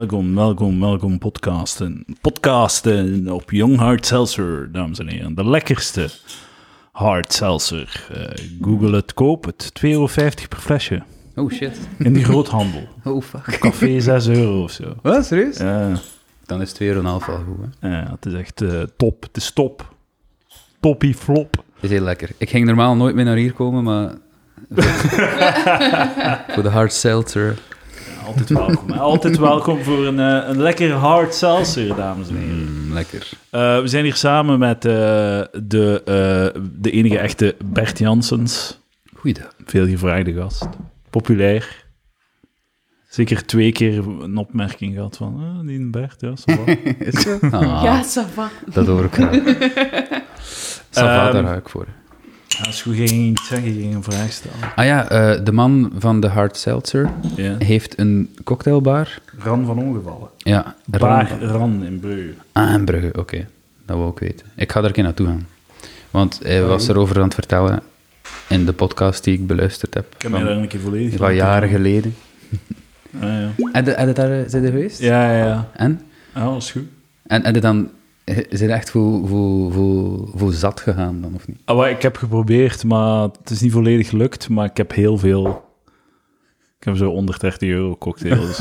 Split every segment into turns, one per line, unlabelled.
Welkom, welkom, welkom podcasten. Podcasten op Young Hard Seltzer, dames en heren. De lekkerste hard seltzer. Eh, Google het, koop het. 2,50 euro per flesje.
Oh shit.
In de groothandel.
Oh fuck.
Café 6 euro of zo.
Wat, serieus?
Ja,
Dan is 2,5 al goed. Hè?
ja, het is echt eh, top. Het is top. Toppie flop.
Het is heel lekker. Ik ging normaal nooit meer naar hier komen, maar. Voor de hard seltzer.
Altijd welkom. Altijd welkom voor een, eh, een lekkere hard seltzer, dames en heren.
Mm, lekker.
Eh, we zijn hier samen met eh, de, eh, de enige echte Bert Janssens.
Goeiedag.
Veel gevraagde gast. Populair. Zeker twee keer een opmerking gehad van, ah, die Bert, ja, ça va.
Is het? Ah,
Ja, ça va.
Dat hoor ik graag. Sava,
Ehm.
daar ga ik voor.
Ja, Als je ging iets zeggen, je ging een vraag stellen.
Ah ja, eh, de man van de hard seltzer
Ja.
heeft een cocktailbar.
Ran van ongevallen.
Ja,
Baar Ran in Brugge.
Ah, in Brugge, oké. Dat wil ik weten. Ik ga er een keer naartoe gaan. Want hij was erover aan het vertellen in de podcast die ik beluisterd heb.
Ik heb mij daar een keer volledig...
Van jaren geleden.
Ah, ja.
En de, en de, daar
eh,
zijn geweest?
Ja, ja, ja.
En?
Ah, dat is goed.
En, en de dan,
eh,
zijn echt voor, voor, voor, voor zat gegaan dan, of niet?
Ah, wel, ik heb geprobeerd, maar het is niet volledig gelukt. Maar ik heb heel veel... Ik heb zo 130 euro cocktails.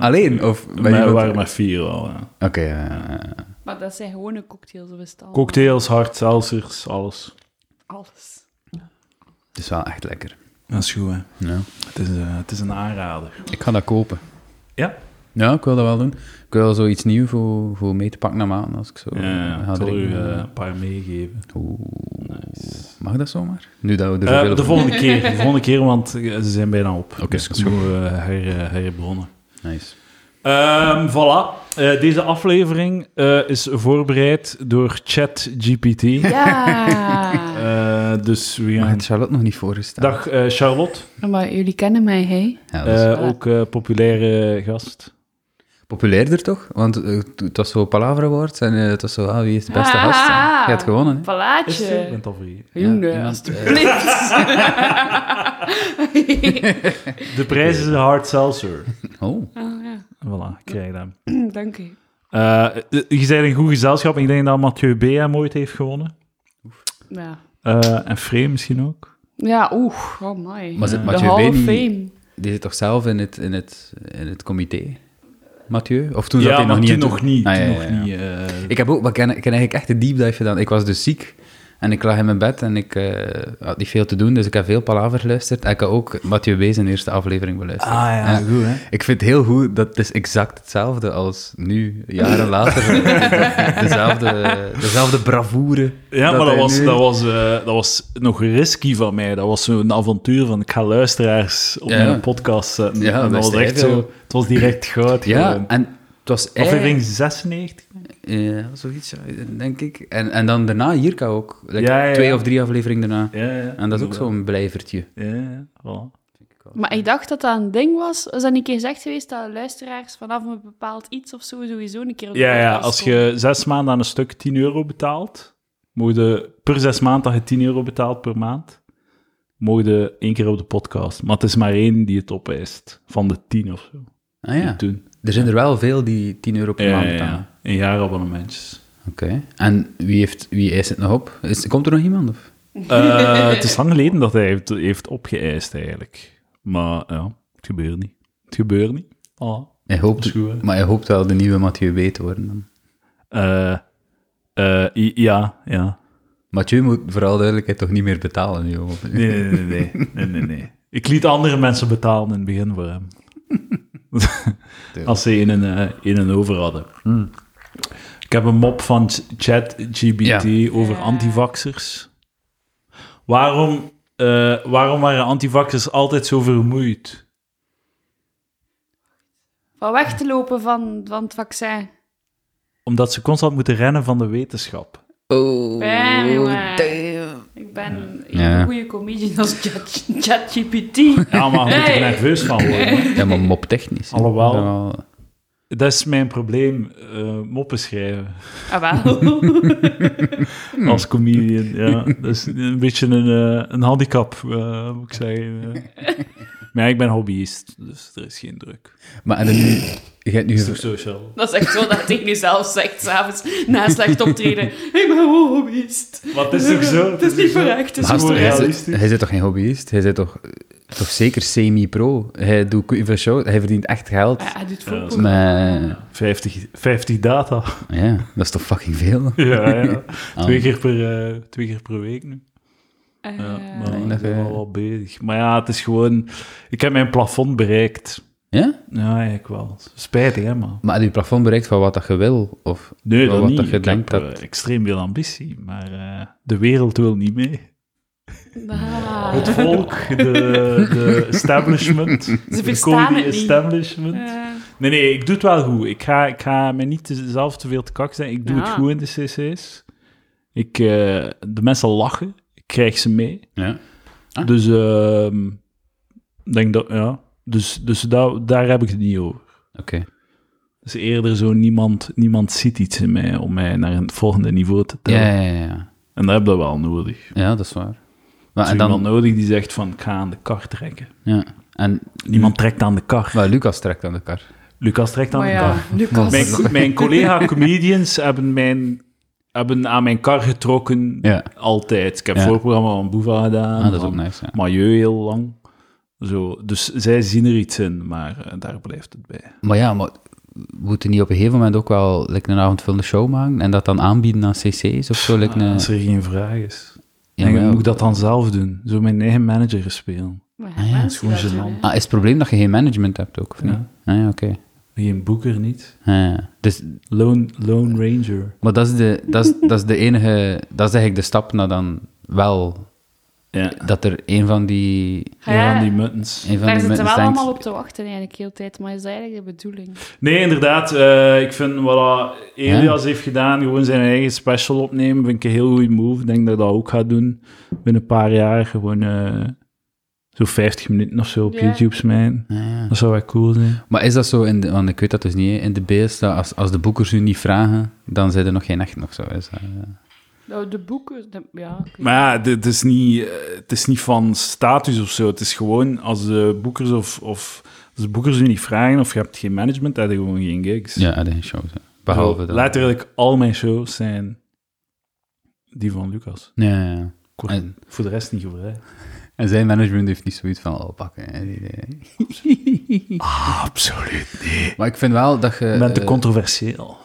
Alleen? Of ben je
maar
wat-
er waren maar vier al, ja.
Oké, ja, ja, ja, ja.
Maar dat zijn gewone cocktails, dat is het al.
Cocktails, hard seltzers, alles.
Alles.
het is wel echt lekker.
Dat is goed, hè.
Ja.
Het is, eh, het is een aanrader.
Ik ga dat kopen.
Ja?
Ja, ik wil dat wel doen. Ik wil wel zoiets nieuws voor, voor mee te pakken naar maanden, als ik zo
Ja,
ga
ik zal u
drinken. Eh,
eh, een paar meegeven.
Oeh,
Nice.
mag dat zomaar? Nu dat we er
Eh,
zoveel
de
over-
volgende keer, de volgende keer, want eh, ze zijn bijna op.
Oké,
dus
dat
ik
is
moet eh, her, eh, herbronnen.
Nice.
Ehm, voilà. Eh, deze aflevering eh, is voorbereid door ChatGPT.
Ja!
Eh, dus we
Maar
gaan...
het Charlotte nog niet voorgesteld.
Dag eh, Charlotte,
maar jullie kennen mij, hè?
Ja, dat is
Eh,
waar.
ook eh, populaire gast.
populairder toch? Want eh, t- het was zo Palavra Awards en eh, het was zo, ah, wie is de beste gast?
Ah.
Je hebt gewonnen, hè?
Is ze? Ik ben
Palaatje.
het al vergeten.
Jongen,
Ja, eh.
alsjeblieft.
De prijs is een hard seltzer.
Oh,
oh, ja.
Voilà, krijg je hem.
Dank u.
Eh, je bent een goed gezelschap. Ik denk dat Mathieu B. hem ooit heeft gewonnen.
Ja.
Eh, en Frame misschien ook.
Ja, oeh, oh my.
maar zit
de
Mathieu
Hall of
Been niet-
Fame.
Die zit toch zelf in het, in het, in het comité, Mathieu? Of toen zat hij
maar
nog
toen
niet in het-
nog niet.
Ah,
toen
ja,
nog
ja, ja.
niet eh.
Ik heb ook, maar ik heb ik heb eigenlijk echt de deep dive gedaan. Ik was dus ziek en ik lag in mijn bed en ik eh, had niet veel te doen, dus ik heb veel palaver geluisterd. En ik heb ook Mathieu B. zijn eerste aflevering beluisterd.
Ah ja,
Ja.
goed hè.
Ik vind het heel goed dat het is exact hetzelfde als nu, jaren later. dezelfde, dezelfde bravoure.
Ja, maar dat
hij
was,
nu-
dat, was, eh, dat was nog risky van mij. Dat was zo'n avontuur van ik ga luisteraars op
Ja.
mijn podcast zetten. en
Ja,
dat
wist
was echt
hij
zo,
veel.
het was direct goud.
Ja,
gewoon.
en het was
Aflevering 96.
Ja, zoiets, ja, denk ik. En, en dan daarna Jirka ook. Like,
Ja, ja, ja.
Twee of drie afleveringen daarna.
Ja, ja,
En dat is ook zo'n blijvertje.
Ja, ja, voilà.
Maar ik dacht dat dat een ding was. Was dat niet een keer gezegd geweest dat luisteraars vanaf een bepaald iets of zo sowieso een keer op de
ja, ja,
podcast
als
komen?
je zes maanden aan een stuk 10 euro betaalt, mogen de- per zes maanden dat je 10 euro betaalt per maand, mogen de één keer op de podcast. Maar het is maar één die het opeist, van de 10 of zo.
Ah
die
ja,
het doen.
er zijn er wel veel die 10 euro per
Ja,
maand
ja,
betalen.
ja. Een jaar abonnementjes.
Oké. En wie, heeft, wie eist het nog op? Is, komt er nog iemand? Of?
Eh, het is lang geleden dat hij heeft, heeft opgeëist, eigenlijk. Maar ja, het gebeurt niet. Het gebeurt niet. Ah.
Hij hoopt,
Dat is goed, hè?
maar hij hoopt wel de nieuwe Mathieu B te worden. Dan.
Eh, eh, i- ja, ja.
Mathieu moet vooral duidelijkheid toch niet meer betalen nu? of-
Nee, nee, nee, nee. nee, nee, nee. Ik liet andere mensen betalen in het begin voor hem. Als ze in een, eh, in een over hadden. Ik heb een mop van ChatGBT over
Ja.
antivaxers. Waarom, eh, waarom waren antivaxers altijd zo vermoeid?
Van weg te lopen van, van het vaccin.
Omdat ze constant moeten rennen van de wetenschap.
Oh,
Bam, jongen.
damn.
Ik ben
Ja.
een goede comedian als Chat- ChatGPT.
Ja, maar je moet er
Hey.
nerveus van worden. hè.
Ja, maar moptechnisch. hè.
Alhoewel.
Dat wel-
Dat is mijn probleem, eh, moppen schrijven.
ah, wel.
Als Dus comedian, ja. Dat is een beetje een, eh, een handicap, eh, moet ik zeggen. eh. Maar ja, ik ben hobbyist, dus er is geen druk.
Maar en nu, je hebt nu...
Is toch social?
Dat is echt zo dat je tegen jezelf zegt, s'avonds, na een slecht optreden. Ik ben gewoon hobbyist.
Wat is toch zo?
Het is niet voor echt, het is
Maar
voor
gewoon
hij,
echt.
realistisch.
zit, hij zit toch geen hobbyist? Hij zit toch, toch zeker semi-pro? Hij doet veel show, hij verdient echt geld.
Ja, hij doet
Ja, dat is-
voorpogingen.
Maar
50, 50 data.
ja, dat is toch fucking veel?
ja, ja.
Ah.
Twee, keer per, eh, twee keer per week nu.
Eh,
Ja,
ik
maar
denk
ik
dat
ben
je-
wel wat bezig. Maar ja, het is gewoon... Ik heb mijn plafond bereikt.
Ja?
Ja, eigenlijk wel. Spijtig, hè, maar...
Maar je plafond bereikt van wat dat je wil? Of,
Nee,
Wel
dat
wat
niet.
dat je
ik
denkt
heb
dat-
eh, extreem veel ambitie, maar eh, de wereld wil niet mee.
ah.
Het volk, de, de establishment, de
verstaan
Cody
het niet.
establishment.
Eh,
Nee, nee, ik doe het wel goed. Ik ga, ik ga me niet te- zelf te veel te kak zijn. Ik doe het
Ja.
goed in de cc's. Ik, eh, de mensen lachen. Ik krijg ze mee.
ja. Ah.
Dus ehm, ik denk dat, ja. Dus, dus daar- daar heb ik het niet over.
Oké.
Dus eerder zo, niemand, niemand ziet iets in mij om mij naar het volgende niveau te tillen.
Ja, ja, ja, ja.
En dat heb je wel nodig.
Ja, dat is waar.
Er
Maar,
is
en
iemand
dan...
nodig die zegt van, ik ga aan de kar trekken.
Ja. En Mm.
Niemand trekt aan de kar.
maar Lucas trekt aan de kar.
Lucas trekt aan
maar
de
ja,
kar.
Lucas.
Mijn-
Mijn, mijn collega-comedians hebben, mijn, hebben aan mijn kar getrokken
Ja.
altijd. Ik heb
Ja.
voorprogramma van Boeva gedaan,
Ah, dat is ook
van
nice, ja.
Mailleu heel lang. Zo, dus zij zien er iets in, maar eh, daar blijft het bij.
Maar ja, maar moeten niet op een gegeven moment ook wel like, een avondvullende show maken en dat dan aanbieden aan cc's of zo? Like, een,
Als er geen vraag is.
Ja,
en
maar-
moet ik dat dan zelf doen? Zo mijn eigen manager spelen.
Maar
Ah ja,
mensen
het
is gewoon
dat doen,
gênant.
hè.
Ah, is het probleem dat je geen management hebt ook? of niet?
Ja.
Ah, ja, oké.
Geen boeker niet.
Ah, ja. Dus,
Lone, lone Ranger.
maar dat is, de, dat, is, dat is de enige, dat is eigenlijk de stap naar dan wel,
Ja.
dat er een van die,
Ja,
Een van
ja.
die muttons.
een van
Daar
die
zitten we
mensen
wel
denkt,
allemaal op te wachten eigenlijk, heel de tijd. Maar is dat eigenlijk de bedoeling?
Nee, inderdaad. eh, ik vind wat Elias heeft gedaan, gewoon zijn eigen special opnemen, vind ik een heel goede move. Ik denk dat ik dat ook ga doen binnen een paar jaar. Gewoon eh, zo 50 minuten of zo op
Ja.
YouTube smijten.
Ah, ja.
Dat zou wel cool zijn.
Maar is dat zo, in de, want ik weet dat dus niet, hè, in de beest, dat als, als de boekers u niet vragen, dan zijn er nog geen echt nog zo. Is dat, eh,
Nou, de boeken... de- ja, oké.
Maar ja, dit- het is, niet, eh, het is niet van status of zo. Het is gewoon als de boekers of, of als de boekers je niet vragen of je hebt geen management, heb je gewoon geen gigs.
ja, dat is een show. zo. Behalve
Zo,
dat.
Letterlijk al mijn shows zijn die van Lucas.
Ja, ja, ja.
Ik word
En,
Voor de rest niet gebruikt.
en zijn management heeft niet zoiets van al pakken. hè, die- die-
Absoluut niet.
maar ik vind wel dat je...
Ik ben te
eh,
controversieel.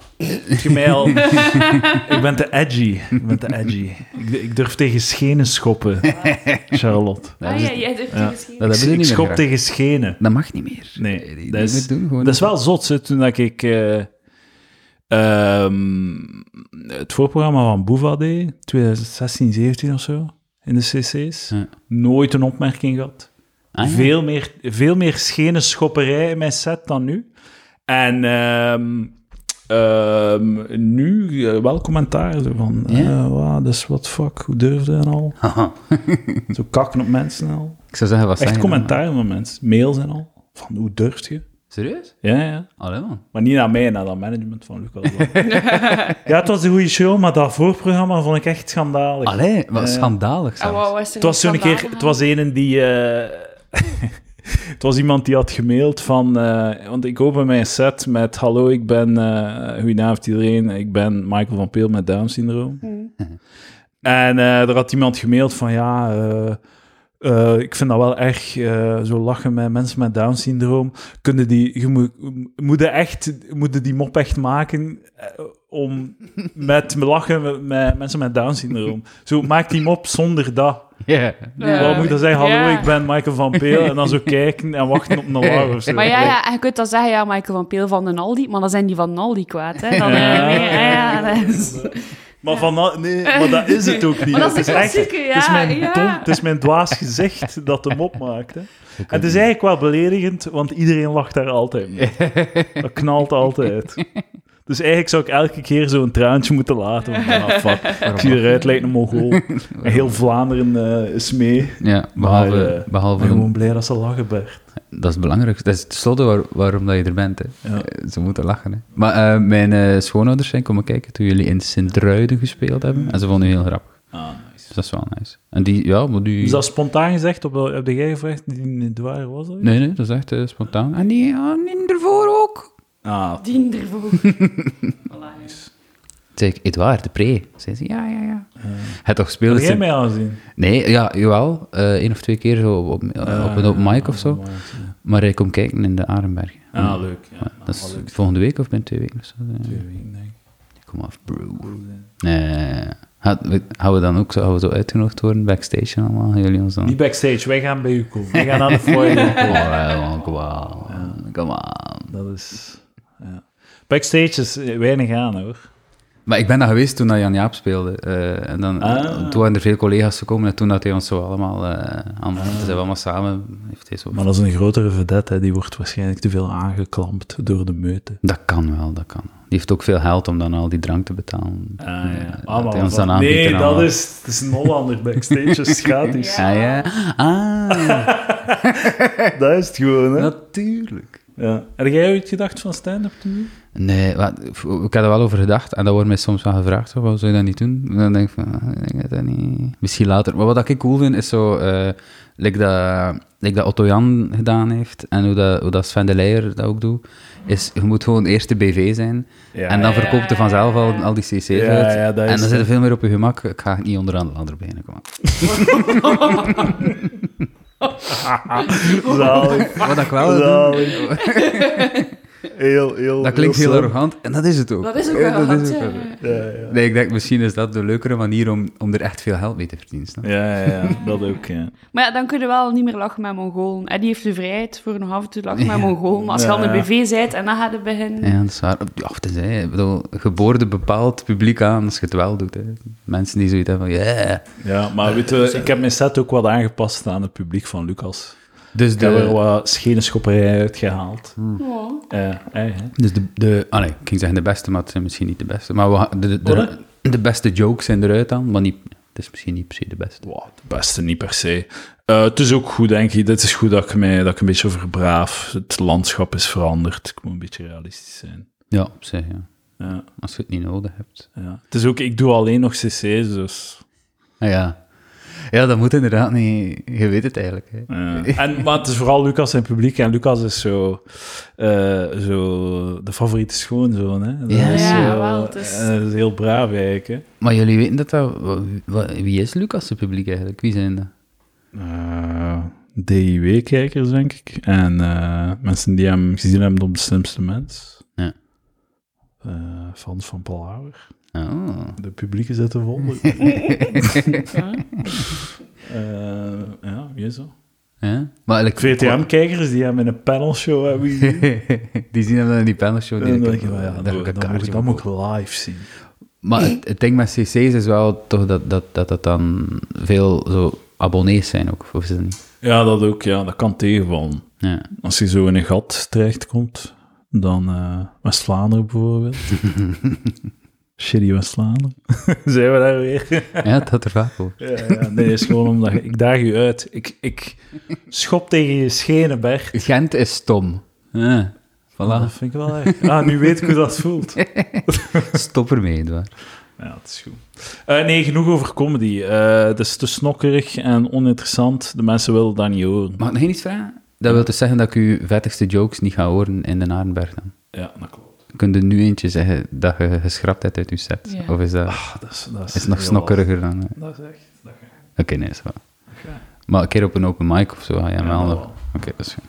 Gemel. ik ben te edgy. Ik ben te edgy. Ik, ik durf tegen schenen schoppen, Charlotte.
dus dat,
ah
is-
ja, jij durft
Ja.
die misschien.
Dat
ik
hebben we
ik
niet meer
schop
graag.
tegen schenen.
dat mag niet meer.
Nee,
die-
dat
die
is-
moet doen, gewoon
Dat is wel zot, hè, toen dat ik eh, ehm, het voorprogramma van Boeva deed, 2016, 17 of zo, in de cc's,
Ja.
nooit een opmerking gehad.
Ah, ja.
veel, meer, veel meer schenen schopperij in mijn set dan nu. En ehm, ehm, nu eh, wel commentaar zo van,
Ja.
eh wauw, dat is wat fuck, hoe durfde en al.
Haha.
Zo kakken op mensen en al.
Ik zou zeggen, wat
Echt
zeggen dan, maar-
commentaar van mensen, mails en al. Van, hoe durf je?
Serieus?
Ja, ja.
Allee, man.
Maar niet naar mij, naar dat management van Lucas. ja, het was een goede show, maar dat voorprogramma vond ik echt schandalig.
Allee, wat
Eh,
schandalig
Ah,
zelfs.
wauw, is er
Het was zo'n
schandaal
keer, het
gegaan?
was een die. eh, het was iemand die had gemaild van. eh, want ik open mijn set met: Hallo, ik ben. eh goedenavond iedereen, ik ben Michael van Peel met Down syndroom. En eh, er had iemand gemaild van: Ja. eh, eh, ik vind dat wel erg, eh, zo lachen met mensen met Down-syndroom. Kunnen die, je moet, moet je echt, moet je die mop echt maken eh, om met lachen met, met mensen met Down-syndroom. Zo, maak die mop zonder dat.
Ja.
Eh,
Wat moet ik dan zeggen? Hallo,
ja.
ik ben Michael van Peel. En dan zo kijken en wachten op een alarm of zo.
Maar ja, ja, en je kunt dan zeggen, ja, Michael van Peel van de Aldi, maar dan zijn die van Aldi kwaad, hè. Dan, eh,
Ja.
nee, ja, ja, dat is...
Maar, van, al- nee, maar dat is het ook niet.
Maar dat is
het,
een
echt,
klassieker, ja.
het is mijn
ja.
dom- het is mijn dwaas gezicht dat de mop maakt. Hè. En het is eigenlijk wel beledigend, want iedereen lacht daar altijd mee. Dat knalt altijd. Dus eigenlijk zou ik elke keer zo'n traantje moeten laten. want, ah, fuck, ik zie eruit, lijkt een mongool. En heel Vlaanderen eh, is mee.
Ja,
Maar,
behalve...
eh, Ik
behalve
ben gewoon blij dat ze lachen, Bert.
Dat is het belangrijkste. Dat is het slotte waar, waarom dat je er bent. Hè.
Ja.
Eh, Ze moeten lachen. Hè. Maar eh, mijn eh, schoonouders zijn komen kijken toen jullie in Sint-Ruiden gespeeld hebben. En ze vonden u heel grappig.
Mm. Ah, nice.
Dus dat is wel nice. En die, ja, maar die...
Is dat spontaan gezegd? Op, heb jij gevraagd die de waar was? Dat?
Nee, nee, dat is echt eh, spontaan. En die, ah, die ervoor ook.
Ah,
Dien ervoor. voilà, ja.
Zeg ik, Edouard de Pre. Zei ze, ja, ja, ja. Het toch
heb
speelde
jij mij al gezien?
Nee, ja, jawel. eh één of twee keer zo op, op, op een open mic of zo. Maar ik kom kijken in de Arenberg.
Ah, leuk. Ja,
Ja, dat is
wel leuk.
volgende week of binnen twee weken of zo.
Twee weken, denk ik.
Kom af, bro. Nee, Had- we- gaan we dan ook zo, gaan we zo uitgenodigd worden, backstage en allemaal? Gaan jullie ons dan...
Niet backstage, wij gaan bij u komen. Wij gaan naar de foyer
Oh,
komen.
wel, come on, come on.
Dat is... Ja. Backstage is eh, weinig aan, hoor.
Maar ik ben daar geweest toen dat Jan Jaap speelde. eh, en dan,
Ah.
Toen waren er veel collega's gekomen en toen had hij ons zo allemaal... eh allemaal Zijn we allemaal samen... Heeft hij zo...
Ah. Maar dat is een grotere vedette, hè. die wordt waarschijnlijk te veel aangeklampt door de meute.
Dat kan wel, dat kan. Die heeft ook veel geld om dan al die drank te betalen.
Ah, ja.
Dat
Ah, maar
hij ons
wat-
dan aanbiedt
nee,
en
dat
allemaal.
is, het is een Hollander backstage, is gratis.
Ah, ja. Ah,
Dat is het gewoon, hè.
natuurlijk.
Ja. Heb jij ooit gedacht van stand-up te doen?
Nee, wat, ik had er wel over gedacht en dat wordt mij soms wel gevraagd, zo, waarom zou je dat niet doen? En dan denk ik van, ah, ik denk dat dat niet... Misschien later. Maar wat ik cool vind, is zo, eh like dat, like dat Otto Jan gedaan heeft en hoe dat, hoe dat Sven de Leijer dat ook doet, is je moet gewoon eerst de BV zijn
Ja.
en dan verkoopt je vanzelf al, al die cc's
Ja,
uit.
ja, dat
en
is het.
dan zit je veel meer op je gemak. Ik ga niet onderaan de ladder beginnen, kom aan.
Zalig.
Wat ik wel doe,
Zalig. Heel, heel...
dat klinkt heel
slim.
arrogant en dat is het ook.
Dat is ook
Ja,
wel
dat
hard,
is ook
ja.
wel.
Ja, ja.
Nee, ik denk misschien is dat de leukere manier om, om er echt veel geld mee te verdienen. snap je?
Ja, ja, ja, dat ook, ja.
Maar ja, dan kun je wel niet meer lachen met Mongolen. En die heeft de vrijheid voor nog af en toe lachen met Mongolen. Maar als je
Ja,
al een
ja.
BV bent en dan gaat het beginnen...
Ja, dat is waar. Ja, het is, hè, ik bedoel, geboorte bepaalt publiek aan als je het wel doet. Hè. Mensen die zoiets hebben van, yeah.
Ja, maar weet je, ik heb mijn set ook wat aangepast aan het publiek van Lucas.
Dus
Ik heb er
de,
wat schenen uitgehaald.
Oh.
Eh, eh, hè.
dus de, de ah nee, ik ging zeggen de beste, maar het zijn misschien niet de beste. Maar we, ha- de, de,
Wat,
de, de beste jokes zijn eruit dan, maar niet, het is misschien niet per se de beste.
Wow, de beste niet per se. Eh, het is ook goed, denk ik. Het is goed dat ik, mij, dat ik een beetje verbraaf. Het landschap is veranderd. Ik moet een beetje realistisch zijn.
Ja, op zich, ja.
Ja,
Als je het niet nodig hebt.
ja. Het is ook, ik doe alleen nog cc's, dus...
Ah, ja. ja, dat moet inderdaad niet... Je weet het eigenlijk. Hè.
Ja. En, maar het is vooral Lucas en publiek. En Lucas is zo, eh, zo de favoriete schoonzoon. Hè? Dat
Ja.
is
Ja,
zo-
wel, het is-
eh, dat is heel braaf eigenlijk. Hè?
Maar jullie weten dat dat... wa- wa- Wie is Lucas' publiek eigenlijk? Wie zijn dat?
Eh, DIW-kijkers, denk ik. En eh, mensen die hem gezien hebben op de slimste mens.
Ja.
Eh, fans van Paul Houwer.
Oh.
De publieke zetten vol.
Ja.
Eh, ja, wie is dat?
Ja? Maar eigenlijk...
VTM-kijkers die hem in een panelshow hebben gezien.
die zien hem dan in die panelshow. Die
Dan denk
denken,
je van, ja,
daar
dat
heb
moet
ik
ik-
een
dat moet ik-
kaartje
dat moet
voor.
ik live zien.
Maar het, het ding met cc's is wel toch dat dat, dat, dat dan veel zo abonnees zijn ook, of is dat niet?
Ja, dat ook. Ja, dat kan tegenvallen.
Ja.
Als je zo in een gat terechtkomt, dan eh, West-Vlaanderen bijvoorbeeld. Shitty West-Vlaanderen. Zijn we daar weer?
ja, het had er vaak over.
Ja, ja, nee, het is gewoon omdat je- ik daag je uit. Ik, ik schop tegen je schenen, Bert.
Gent is stom. Ja,
Dat
voilà.
vind ik wel erg. Ah, nu weet ik hoe dat voelt.
Stop ermee, Edouard.
Ja, het is goed. Eh, nee, genoeg over comedy. Eh, het is te snokkerig en oninteressant. De mensen willen dat niet horen.
Mag ik nog één iets vragen? Dat wil dus zeggen dat ik uw vettigste jokes niet ga horen in de Narenberg dan?
Ja, dat klopt.
Kun je nu eentje zeggen dat je geschrapt hebt uit je set?
Ja.
Of is dat
Ah, dat is, dat is,
is het nog
heel
snokkeriger dan... eh?
lastig. Dat is echt... Dat gaat.
Oké, nee, is wel. Maar een keer op een open mic of zo ga je hem
Ja,
wel
dat
nog...
wel.
Oké, dat is goed.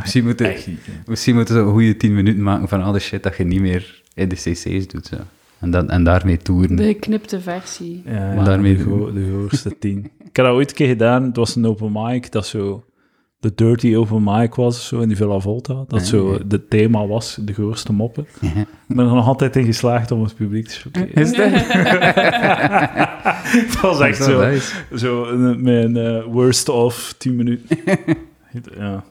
Misschien moeten,
Echt niet, hè.
misschien moeten ze een goede 10 minuten maken van al de shit dat je niet meer in de cc's doet. Zo. En, dan, en daarmee toeren.
De geknipte versie.
Ja,
Maar
daarmee
daarmee
de, go- de hoogste tien. ik heb dat ooit een keer gedaan. Het was een open mic dat zo de dirty open mic was, zo in die Villa Volta. Dat zo het thema was, de grootste moppen. Ik ben er nog altijd in geslaagd om het publiek te chockeren.
Is dat?
het was echt
Dat is wel
zo,
nice.
zo een- mijn eh, worst of 10 minuten. ja.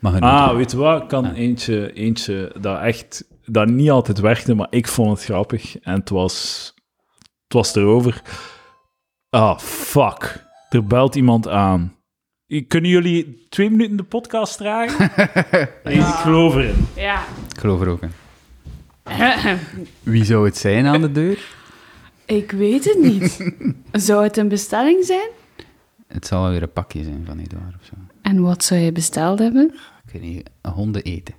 Mag je
Ah,
doen.
weet je wat? Ik kan eentje, eentje dat echt dat niet altijd werkte, maar ik vond het grappig. En het was, het was erover. Ah, fuck. Er belt iemand aan. I- Kunnen jullie twee minuten de podcast dragen? Nee, ik geloof erin.
Ja.
Ik geloof er ook in. Wie zou het zijn aan de deur?
Ik weet het niet. zou het een bestelling zijn?
Het zal wel weer een pakje zijn van Edouard of zo.
En wat zou je besteld hebben?
Ik weet niet, honden eten.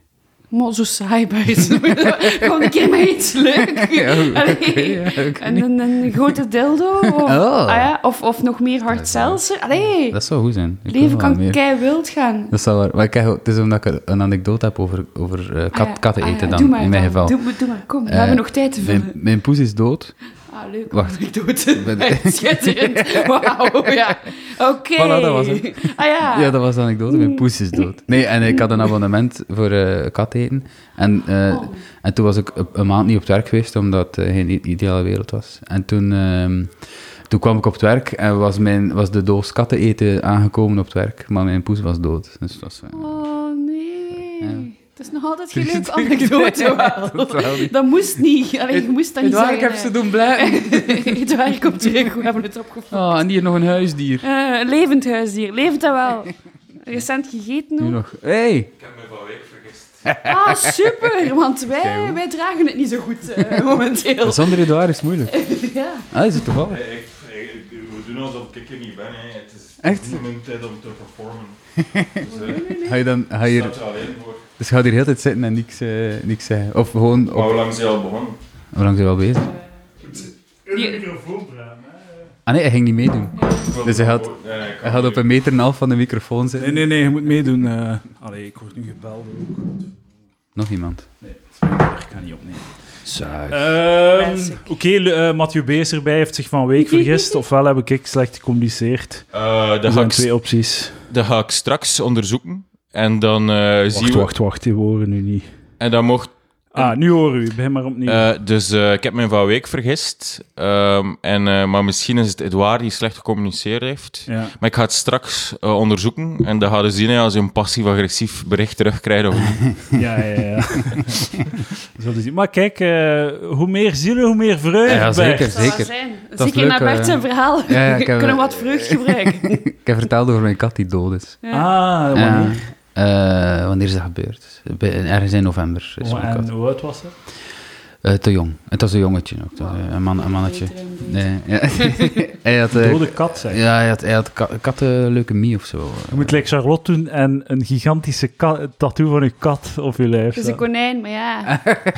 Maar zo saai buiten. Gewoon een keer maar iets leuk. Allee. en een, een grote dildo. Of,
Oh.
ah ja, of, of nog meer hard seltzer. Allee,
Dat zou goed zijn. Ik wil
leven
wel
kan
meer.
kei wild gaan.
Dat zal waar. Maar kijk, het is omdat ik een anekdote heb over, over eh, kat,
Ah ja,
katten
ah ja,
eten
doe
dan,
maar
in mijn
dan.
geval.
Doe, maar- doe maar, kom. We
Eh,
hebben nog tijd te vullen.
Mijn, mijn poes is dood.
Ah, leuk.
Wacht.
Anekdote.
Ben-
Schitterend. Wauw, ja. Oké.
Voilà, dat was het.
Ah ja.
Ja, dat was de anekdote. Mijn poes is dood. Nee, en ik had een abonnement voor eh kat eten. En, eh,
Oh.
en toen was ik een, een maand niet op het werk geweest, omdat het geen i- ideale wereld was. En toen, ehm, toen kwam ik op het werk en was, mijn, was de doos katten eten aangekomen op het werk. Maar mijn poes was dood. Dus dat was... eh,
Oh, nee.
Ja.
Het is nog altijd geen leuke anekdote,
Dat wel
wel.
niet.
Dat moest niet. Allee, je moest dat niet
Edouard,
zeggen.
ik heb ze doen blij.
doen. Het waar, komt terug. We hebben het opgevangen.
Oh, en hier nog een huisdier.
Eh, levend huisdier. Levend dat wel. Recent gegeten
Nu
ook.
nog. Hey.
Ah, super. Want wij, wij dragen het niet zo goed eh, momenteel.
Zonder Edouard is het moeilijk.
Ja.
Ah, is het toevallig?
Ik, ik- we doen alsof ik er niet ben. Hè. Het is
Echt?
niet mijn tijd om te performen. Dus eh,
Ga je dan, ga je
ik
hier,
sta er alleen voor.
dus ga je hier heel de tijd zitten en niks, eh, niks zeggen? Of gewoon...
Maar
Op,
hoe lang zijn al begonnen?
hoe lang zijn we al bezig?
Die-
microfoon praten.
Ah nee, hij ging niet meedoen. Dus hij had-
Nee, nee, ik
Hij gaat op een meter en een half van de microfoon zitten.
Nee, nee, nee, je moet meedoen. eh. allee, ik word nu gebeld ook.
Nog iemand.
Nee, ik kan niet opnemen.
Zuid.
Ehm,
Classic.
Oké, Le- eh, Mathieu Bees erbij heeft zich van week vergist. Ofwel heb ik ik slecht gecommuniceerd.
Eh,
Er
dat, ga
zijn
ik,
twee opties.
dat ga ik straks onderzoeken. En dan eh zien
Wacht,
we...
wacht, wacht. Die horen nu niet.
En dan mocht...
Ah, nu horen we u. Begin maar opnieuw.
eh, dus eh, ik heb me van week vergist. Ehm, en, eh, maar misschien is het Edouard die slecht gecommuniceerd heeft.
ja.
Maar ik ga het straks eh, onderzoeken. En dan gaan we zien hè, als je een passief-agressief bericht terugkrijgt. Of... niet.
Ja, ja, ja. Zullen zien. Maar kijk, eh, hoe meer zielen, hoe meer vreugde.
Ja, zeker.
Bert.
Dat zal wel
Zeker.
zijn.
is
Zeker
leuk,
naar Bert
eh.
zijn verhaal.
Ja, ja, ik heb- eh,
Kunnen we wat vrucht gebruiken.
Ik heb verteld over mijn kat die dood is.
Ja.
Ah, wanneer?
Ja. Eh, wanneer is dat gebeurd? Bij- Ergens in november is
Oh,
mijn kat.
en hoe oud was ze?
Eh, te jong. Het was een jongetje ook. Het was, eh, een, man, een mannetje.
Beter en beter.
Nee, ja. hij had, eh,
Dode kat, zeg.
ja, hij had, hij had ka- kattenleukemie of zo.
Je moet like Charlotte doen en een gigantische ka- tattoo van uw kat op je lijf.
Het is een
zetten.
konijn, maar
Ah.
ja.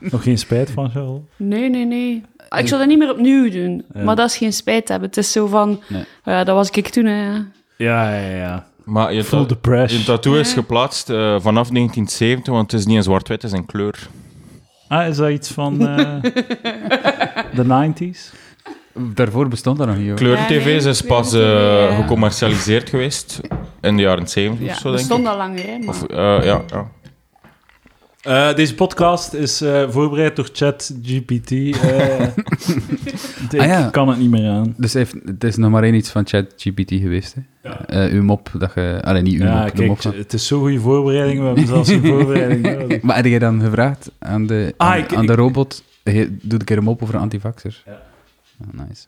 Nog geen spijt van, Charlotte?
Nee, nee, nee. Ah, Ik zou dat niet meer opnieuw doen.
Ja.
Maar dat is geen spijt hebben. Het is zo van... oh
Nee.
Ja, dat was ik toen, hè.
Ja, ja, ja.
Maar je
Full
ta-
the press.
je tattoo is
Ja.
geplaatst eh, vanaf 1970, want het is niet in zwart-wit, het is in kleur.
Ah, is dat iets van eh, de 90s?
Daarvoor bestond dat nog niet. hoor.
Kleur-TV
Ja, nee,
is pas eh,
kleur-tv, ja.
gecommercialiseerd geweest in de jaren 70
Ja,
of zo,
dat
denk
stond
ik.
al langer, hè. maar-
Of, eh, ja, ja.
Eh, deze podcast is eh, voorbereid door ChatGPT. eh. ik
Ah, ja.
kan het niet meer aan.
Dus hij heeft, het is nog maar één iets van ChatGPT geweest. Hè?
Ja.
Eh, uw mop. Dat je, allee, niet uw
Ja,
mop. de mop
kijk,
van-
het is zo'n goede voorbereiding. We hebben zelfs geen voorbereiding nodig.
Maar heb jij dan gevraagd aan de,
Ah,
aan,
ik-
aan de
ik-
robot, hey, doe een keer een mop over antivaxers?
Ja.
Oh, nice.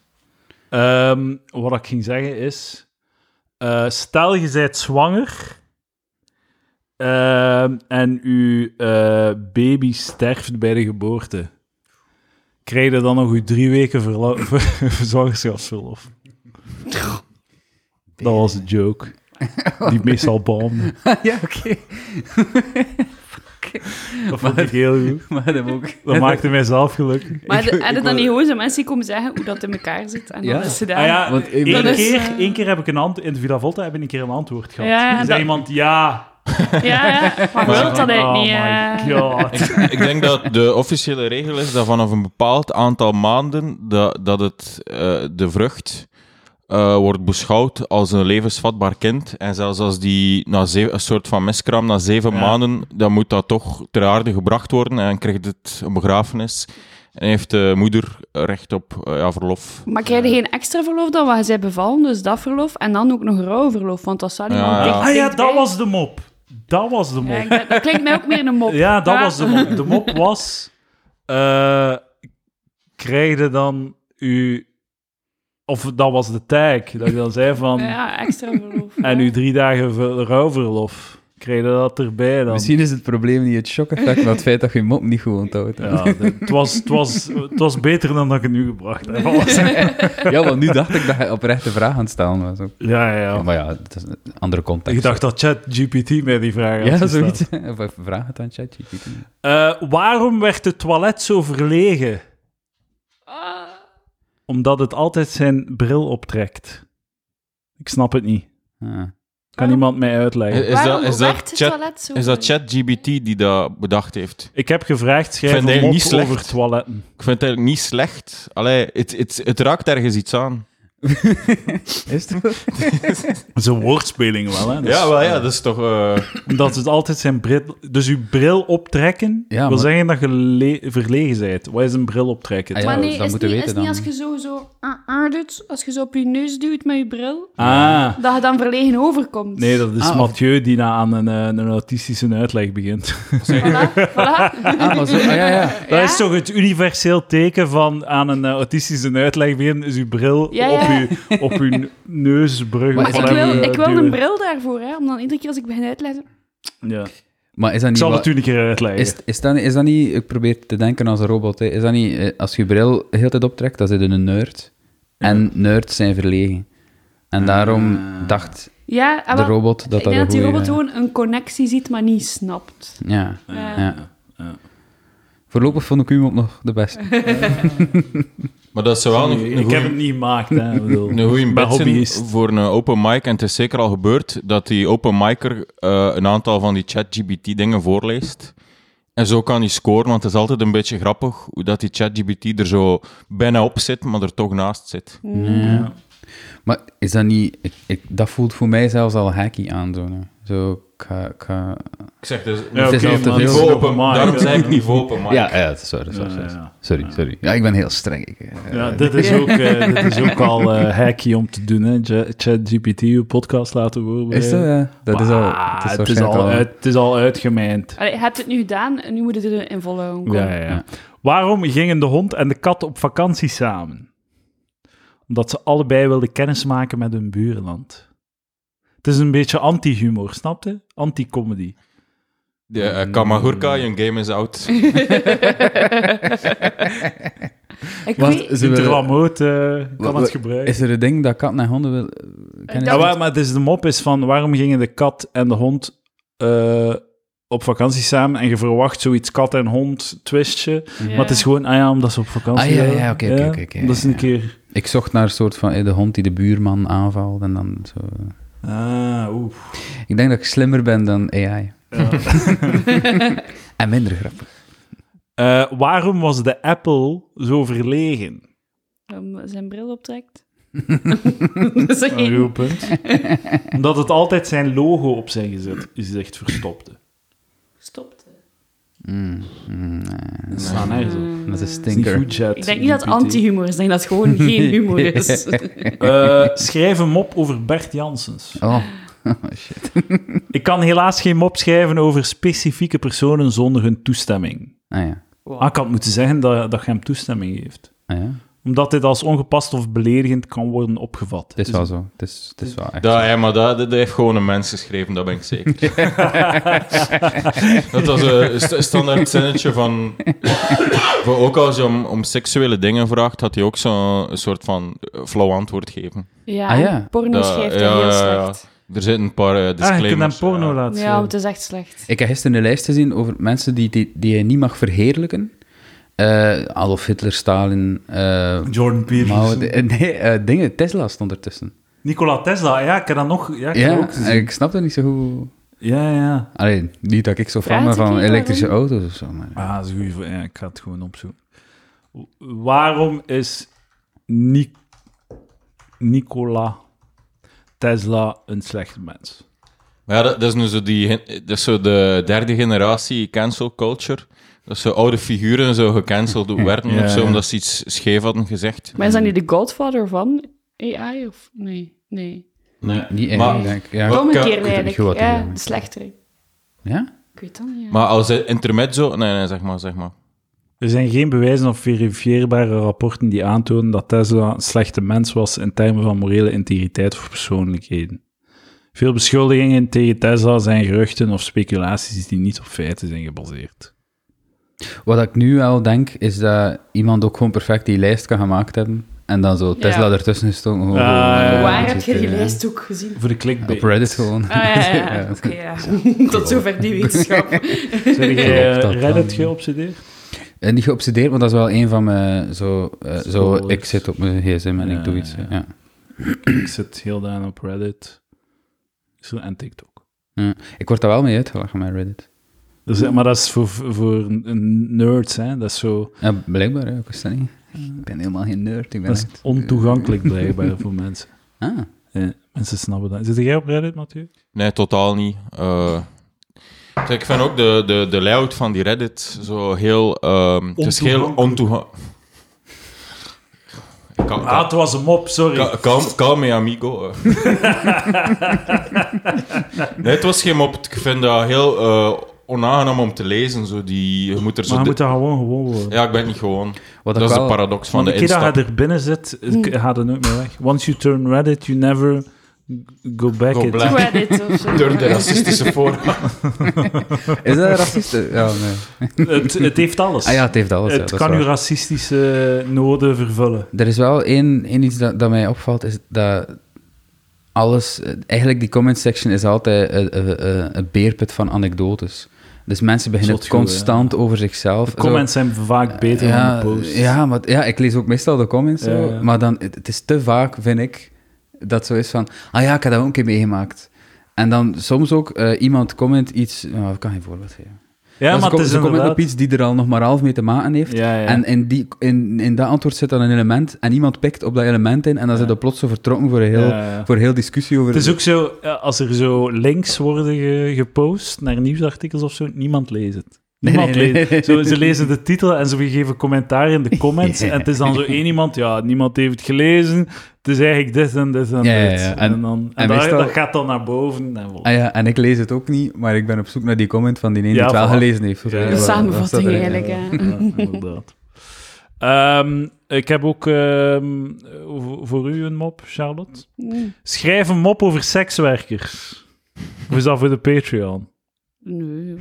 Ehm, wat ik ging zeggen is... eh, stel, je bent zwanger... ehm, en je baby sterft bij de geboorte. Krijg je dan nog je drie weken verla- zwangerschapsverlof? Dat was een joke. Die meestal boomde.
ja, oké.
Dat vond ik heel goed.
Maar dat ook.
Dat maakte mij zelf gelukkig.
Maar de- en
ik
het dan
wil-
niet gewoon zo mensen die komen zeggen hoe dat in elkaar zit. En
Ja.
dan is ze daar.
Ah ja,
Want ik
één,
ben-
keer,
Dat is, eh,
één keer heb ik een antwoord... In de Villa Volta heb ik een keer een antwoord gehad.
Ja, ja,
Er zei
dat-
iemand, ja...
ja, ja. Maar
Maar-
wil dat eigenlijk niet, eh,
Oh my
hè.
god.
Ik denk dat de officiële regel is dat vanaf een bepaald aantal maanden dat, dat het, eh, de vrucht eh, wordt beschouwd als een levensvatbaar kind. En zelfs als die na zeven, een soort van miskraam na zeven
Ja.
maanden, dan moet dat toch ter aarde gebracht worden en krijgt het een begrafenis. En heeft de moeder recht op eh, ja, verlof.
Maar krijg je geen extra verlof dan? Want zij bevallen, dus dat verlof. En dan ook nog rouwverlof, want dat zal
Ja,
iemand
ja.
dicht
Ah ja,
dichtbij.
dat was de mop. Dat was de
Ja,
mop.
ik denk- dat klinkt mij ook meer een mop.
Ja, dat was de mop. De mop was... eh krijg je dan uw... Of dat was de tag. Dat je dan zei van...
Ja, extra verlof.
En uw drie dagen ver- rouwverlof. Krijg je dat erbij dan?
Misschien is het probleem niet het shock-effect, maar het feit dat je mop niet goed onthoudt. hè.
Ja, de- het, was, het, was, het was beter dan dat ik het nu gebracht heb.
Ja, want nu dacht ik dat je oprechte vraag aan het stellen was. ook.
Ja, ja,
Ja,
ja.
maar ja, het is een andere context.
Ik dacht dat ChatGPT mij die vraag had
Ja,
gesteld.
zoiets. Of even vraag het aan ChatGPT.
Eh, waarom werd het toilet zo verlegen?
Ah,
Omdat het altijd zijn bril optrekt. Ik snap het niet.
Ah.
Kan
Waarom?
iemand mij uitleggen?
Is dat,
Waarom
is dat,
werkt het
chat,
toilet zo?
is dat ChatGPT die dat bedacht heeft?
Ik heb gevraagd, schrijf
vind
een
het
mop
niet slecht.
over toiletten.
Ik vind het eigenlijk niet slecht. Allee, het, het, het raakt ergens iets aan.
Is het?
Dat is een woordspeling wel, hè? Dat is-
dat is toch...
Omdat het altijd zijn bril... Dus uw bril optrekken
Ja,
wil
maar-
zeggen dat je le- verlegen bent. Wat is een bril optrekken?
Ah, ja.
maar nee,
dat
is het
moeten
niet,
weten
is het niet
dan.
als je zo, zo ah, ah, doet, als je zo op je neus duwt met je bril,
Ah,
dat je dan verlegen overkomt.
nee, dat is
Ah, of-
Mathieu die na aan een, eh, een autistische uitleg begint.
Voilà, voilà.
Ah, maar zo, ah, ja, ja.
Dat is toch het universeel teken van aan een eh, autistische uitleg beginnen, is uw bril
Ja, ja.
op uw, op uw neusbrug.
Maar
of
Maar
Voilà,
ik
whatever,
wil,
eh,
ik wil
duwen.
een bril daarvoor, hè, om dan iedere keer als ik begin uitleggen...
Ja.
Maar is dat
Ik
niet...
zal
wat-
het u een keer uitleggen.
Is, is, dat, is dat niet, ik probeer te denken als een robot, hè. is dat niet, eh, als je bril de hele tijd optrekt, dan zit je een nerd. En nerds zijn verlegen. En daarom
Ah.
dacht
Ja, ah,
de
wel,
robot dat
ik
dat
denk
een
dat die
goeie-
robot gewoon een connectie ziet, maar niet snapt.
Ja,
Ja.
ja.
Ah, ja.
Voorlopig vond ik u ook nog de beste.
maar dat is wel een,
ik heb het niet gemaakt, hè. Ik bedoel,
een goede
ik ben hobbyist.
voor een open mic. En het is zeker al gebeurd dat die open micer eh, een aantal van die ChatGPT-dingen voorleest. En zo kan hij scoren, want het is altijd een beetje grappig hoe dat die ChatGPT er zo bijna op zit, maar er toch naast zit.
Ja. Maar is dat niet... Ik, ik, dat voelt voor mij zelfs al hacky aan, zo. hè. Zo, ik ga- ik ga-
Ik zeg dus...
Ja,
Het is
oké,
al te
maar
veel.
het is
Niveau
een
open,
mic,
daarom
hè.
zeg ik niveau open mic.
Ja, ja, het is waar, dat is waar,
Oh, Ja,
dat is
ja,
waar.
ja.
Sorry, sorry. Ja, ik ben heel streng. Ik, eh,
Ja, dit is ook, eh, dit is ook al eh, hacky om te doen, hè. Ja- ChatGPT, uw podcast laten horen.
Is dat... eh, dat is al... Het is,
het, is al uit, het is al uitgemijnd.
Allee, je hebt het nu gedaan en nu moet je erin volhouden. Kom.
Ja, ja, ja. Waarom gingen de hond en de kat op vakantie samen? Omdat ze allebei wilden kennismaken met hun buurland. Het is een beetje anti-humor, snap je? Anti-comedy.
De, eh, Kamagurka, your game is out.
Ik
Want
weet-
ze willen-
Interlamoot eh, kan
Wat-
het
wat-
gebruiken.
Is er een ding dat katten en honden wil kennen?
Ja, waar- Nou, maar het is de mop is van waarom gingen de kat en de hond eh, op vakantie samen en je verwacht zoiets kat en hond twistje.
Ja.
Maar het is gewoon, ah ja, omdat ze op vakantie
Ah, ja,
waren.
ja, oké, oké, oké, oké,
Dat is een
ja.
keer...
Ik zocht naar een soort van eh, de hond die de buurman aanvalt en dan zo.
Ah, oeh.
Ik denk dat ik slimmer ben dan AI. En minder grappig.
Eh, waarom was de Apple zo verlegen?
Om zijn bril optrekt. Dus dat is
Oh,
Een
geen...
Ah, punt. Omdat het altijd zijn logo op zijn gezet gezicht verstopte.
Stopt.
Mm, mm, nee.
Dat staat nergens op.
Dat is een
Dat is niet
stinker.
goed, Jet.
Eh, dus Ik denk niet dat het
GPT.
anti-humor is, ik denk dat het gewoon geen humor is.
Eh, schrijf een mop over Bert Janssens.
Oh. oh, shit.
Ik kan helaas geen mop schrijven over specifieke personen zonder hun toestemming.
Ah ja.
Ah, ik had moeten zeggen dat, dat je hem toestemming geeft.
Ah, ja.
Omdat dit als ongepast of beledigend kan worden opgevat. Dus-
Het is wel zo. Het is, het is wel echt.
Dat, ja, maar dat, dat heeft gewoon een mens geschreven, dat ben ik zeker. dat was een st- standaard zinnetje van... voor ook als je om, om seksuele dingen vraagt, had hij ook zo'n soort van eh, flauw antwoord geven.
Ja,
Ah, ja.
porno
Dat-
schrijft
ja,
hij heel
ja, ja.
slecht.
Er zitten een paar eh,
Ah, je kunt
disclaimers.
hem porno
ja.
laten
Ja,
zien.
het is echt slecht.
Ik heb gisteren een lijst gezien over mensen die, die, die je niet mag verheerlijken. Eh, Adolf Hitler, Stalin, eh
Jordan Peterson.
Mao. eh, nee, eh, dingen. Tesla stond ertussen.
Nikola Tesla, ja, ik heb dat nog... Ja, ik heb dat
Ja,
ook gezien.
ik snap dat niet zo goed.
ja, ja.
Alleen, niet dat ik zo fan
Praat
ben
ik
van
niet
elektrische auto's of zo. Maar...
Ah, dat is een goeie vraag. Ja, ik ga het gewoon opzoeken. W- Waarom is Ni- Nikola Tesla een slecht mens?
Maar ja, dat, dat is nu zo, die, gen- dat is zo de derde generatie cancel culture. Dat zo oude figuren zo gecanceld werden
Ja,
of zo,
ja.
omdat ze iets scheef hadden gezegd.
Maar is dat niet de godfather van AI? Of... Nee, nee.
Nee.
Niet echt,
Maar-
denk ik. Ja,
Wat-
Kom een
kan-
keer,
Ik weet
eigenlijk.
wat hij
Ja,
wil.
de slechterik.
ja?
Ik weet dat niet, ja.
Maar als eh, intermezzo... Nee, nee, zeg maar, zeg maar.
Er zijn geen bewijzen of verifieerbare rapporten die aantonen dat Tesla een slechte mens was in termen van morele integriteit of persoonlijkheden. Veel beschuldigingen tegen Tesla zijn geruchten of speculaties die niet op feiten zijn gebaseerd.
Wat ik nu wel denk, is dat iemand ook gewoon perfect die lijst kan gemaakt hebben. En dan zo Tesla
Ja.
ertussen gestoken. gewoon-
Ah, ja,
eh,
ja.
Waar heb je die
Ja.
lijst ook gezien?
Voor de
Op
clickbait.
Reddit gewoon.
Ah, ja, ja, ja. Oké, ja. Tot zover die wetenschap.
Zijn jij
Klopt dat
eh, Reddit
dan?
geobsedeerd?
En die geobsedeerd, want dat is wel een van mijn... Zo, eh, zo
Scrollers.
ik zit op mijn gsm en
Ja,
ik doe iets.
ja.
Ja. Ja.
Ik zit heel daar op Reddit. Zo, en TikTok.
Ik word daar wel mee uitgelachen met Reddit.
Dus, eh, maar dat is voor, voor n- nerds, hè. Dat is zo...
Ja, blijkbaar, hè, ik wist dat niet. Ik ben helemaal geen nerd. Ik ben
Dat is
echt- eh,
ontoegankelijk blijkbaar voor mensen.
Ah,
Ja, mensen snappen dat. Zit jij op Reddit, Mathieu?
Nee, totaal niet. Eh, kijk, ik vind ook de, de, de layout van die Reddit zo heel... ehm het is heel ontoegankelijk. Cal-
Ah, het was een mop, sorry.
cal- cal- Calme amigo. eh. nee, het was geen mop. Ik vind dat heel eh, onaangenaam om te lezen. Zo die, je moet er zo
maar je
di-
moet dat gewoon gewoon worden.
Ja, ik ben niet gewoon.
wat
Dat
ik
is de
wel...
paradox van
Want
de
de keer dat
instap.
je er binnen zit, eh, gaat er nooit meer weg. Once you turn Reddit, you never go back.
Go
it.
black.
Reddit of zo.
Door de racistische voor.
Is dat racist? Eh, Ja, nee.
Het, het heeft alles.
Ah ja, het heeft alles. ja,
het
dat is
kan
waar.
uw racistische noden vervullen.
Er is wel één, één iets dat, dat mij opvalt, is dat alles... eh, Eigenlijk die comment section is altijd eh, een, een, een- een beerput van anekdotes. Dus mensen beginnen
Zot goed,
constant over zichzelf. eh,
De comments zijn vaak beter
ja,
dan de posts.
Ja, maar, ja, ik lees ook meestal de comments, zo,
Ja, ja.
maar dan, het, het is te vaak, vind ik, dat zo is van... Ah ja, ik heb dat ook een keer meegemaakt. En dan soms ook eh, iemand comment iets... nou, ik kan geen voorbeeld geven.
ja
Dan ze
maar het
komen-
is
ze comment
inderdaad...
op iets die er al nog maar half mee te maken heeft.
Ja, ja.
En in, die, in, in dat antwoord zit dan een element en iemand pikt op dat element in en dan
Ja.
zijn ze plots zo vertrokken voor een heel,
Ja, ja.
Voor heel discussie over...
Het is ook zo, eh, als er zo links worden ge- gepost naar nieuwsartikels of zo, niemand leest het.
Nee,
Niemand
nee, nee.
leest het. Zo, ze lezen de titel en ze geven commentaar in de comments.
Ja.
En het is dan zo één iemand, ja, niemand heeft het gelezen. Het is eigenlijk dit en dit en
Ja, ja,
dit.
ja.
En,
En-
dan, en
en
daar-
meestal-
dat gaat dan naar boven. En vol.
Ah ja, en ik lees het ook niet, maar ik ben op zoek naar die comment van die een die
Ja,
het wel
voilà.
gelezen heeft.
Ja.
De
Wat-
samenvatting
Dat staat erin.
eigenlijk. hè.
Ja, inderdaad. Ehm, ik heb ook ehm, voor- voor u een mop, Charlotte.
Mm.
Schrijf een mop over sekswerkers. Of is dat voor de Patreon?
Nee.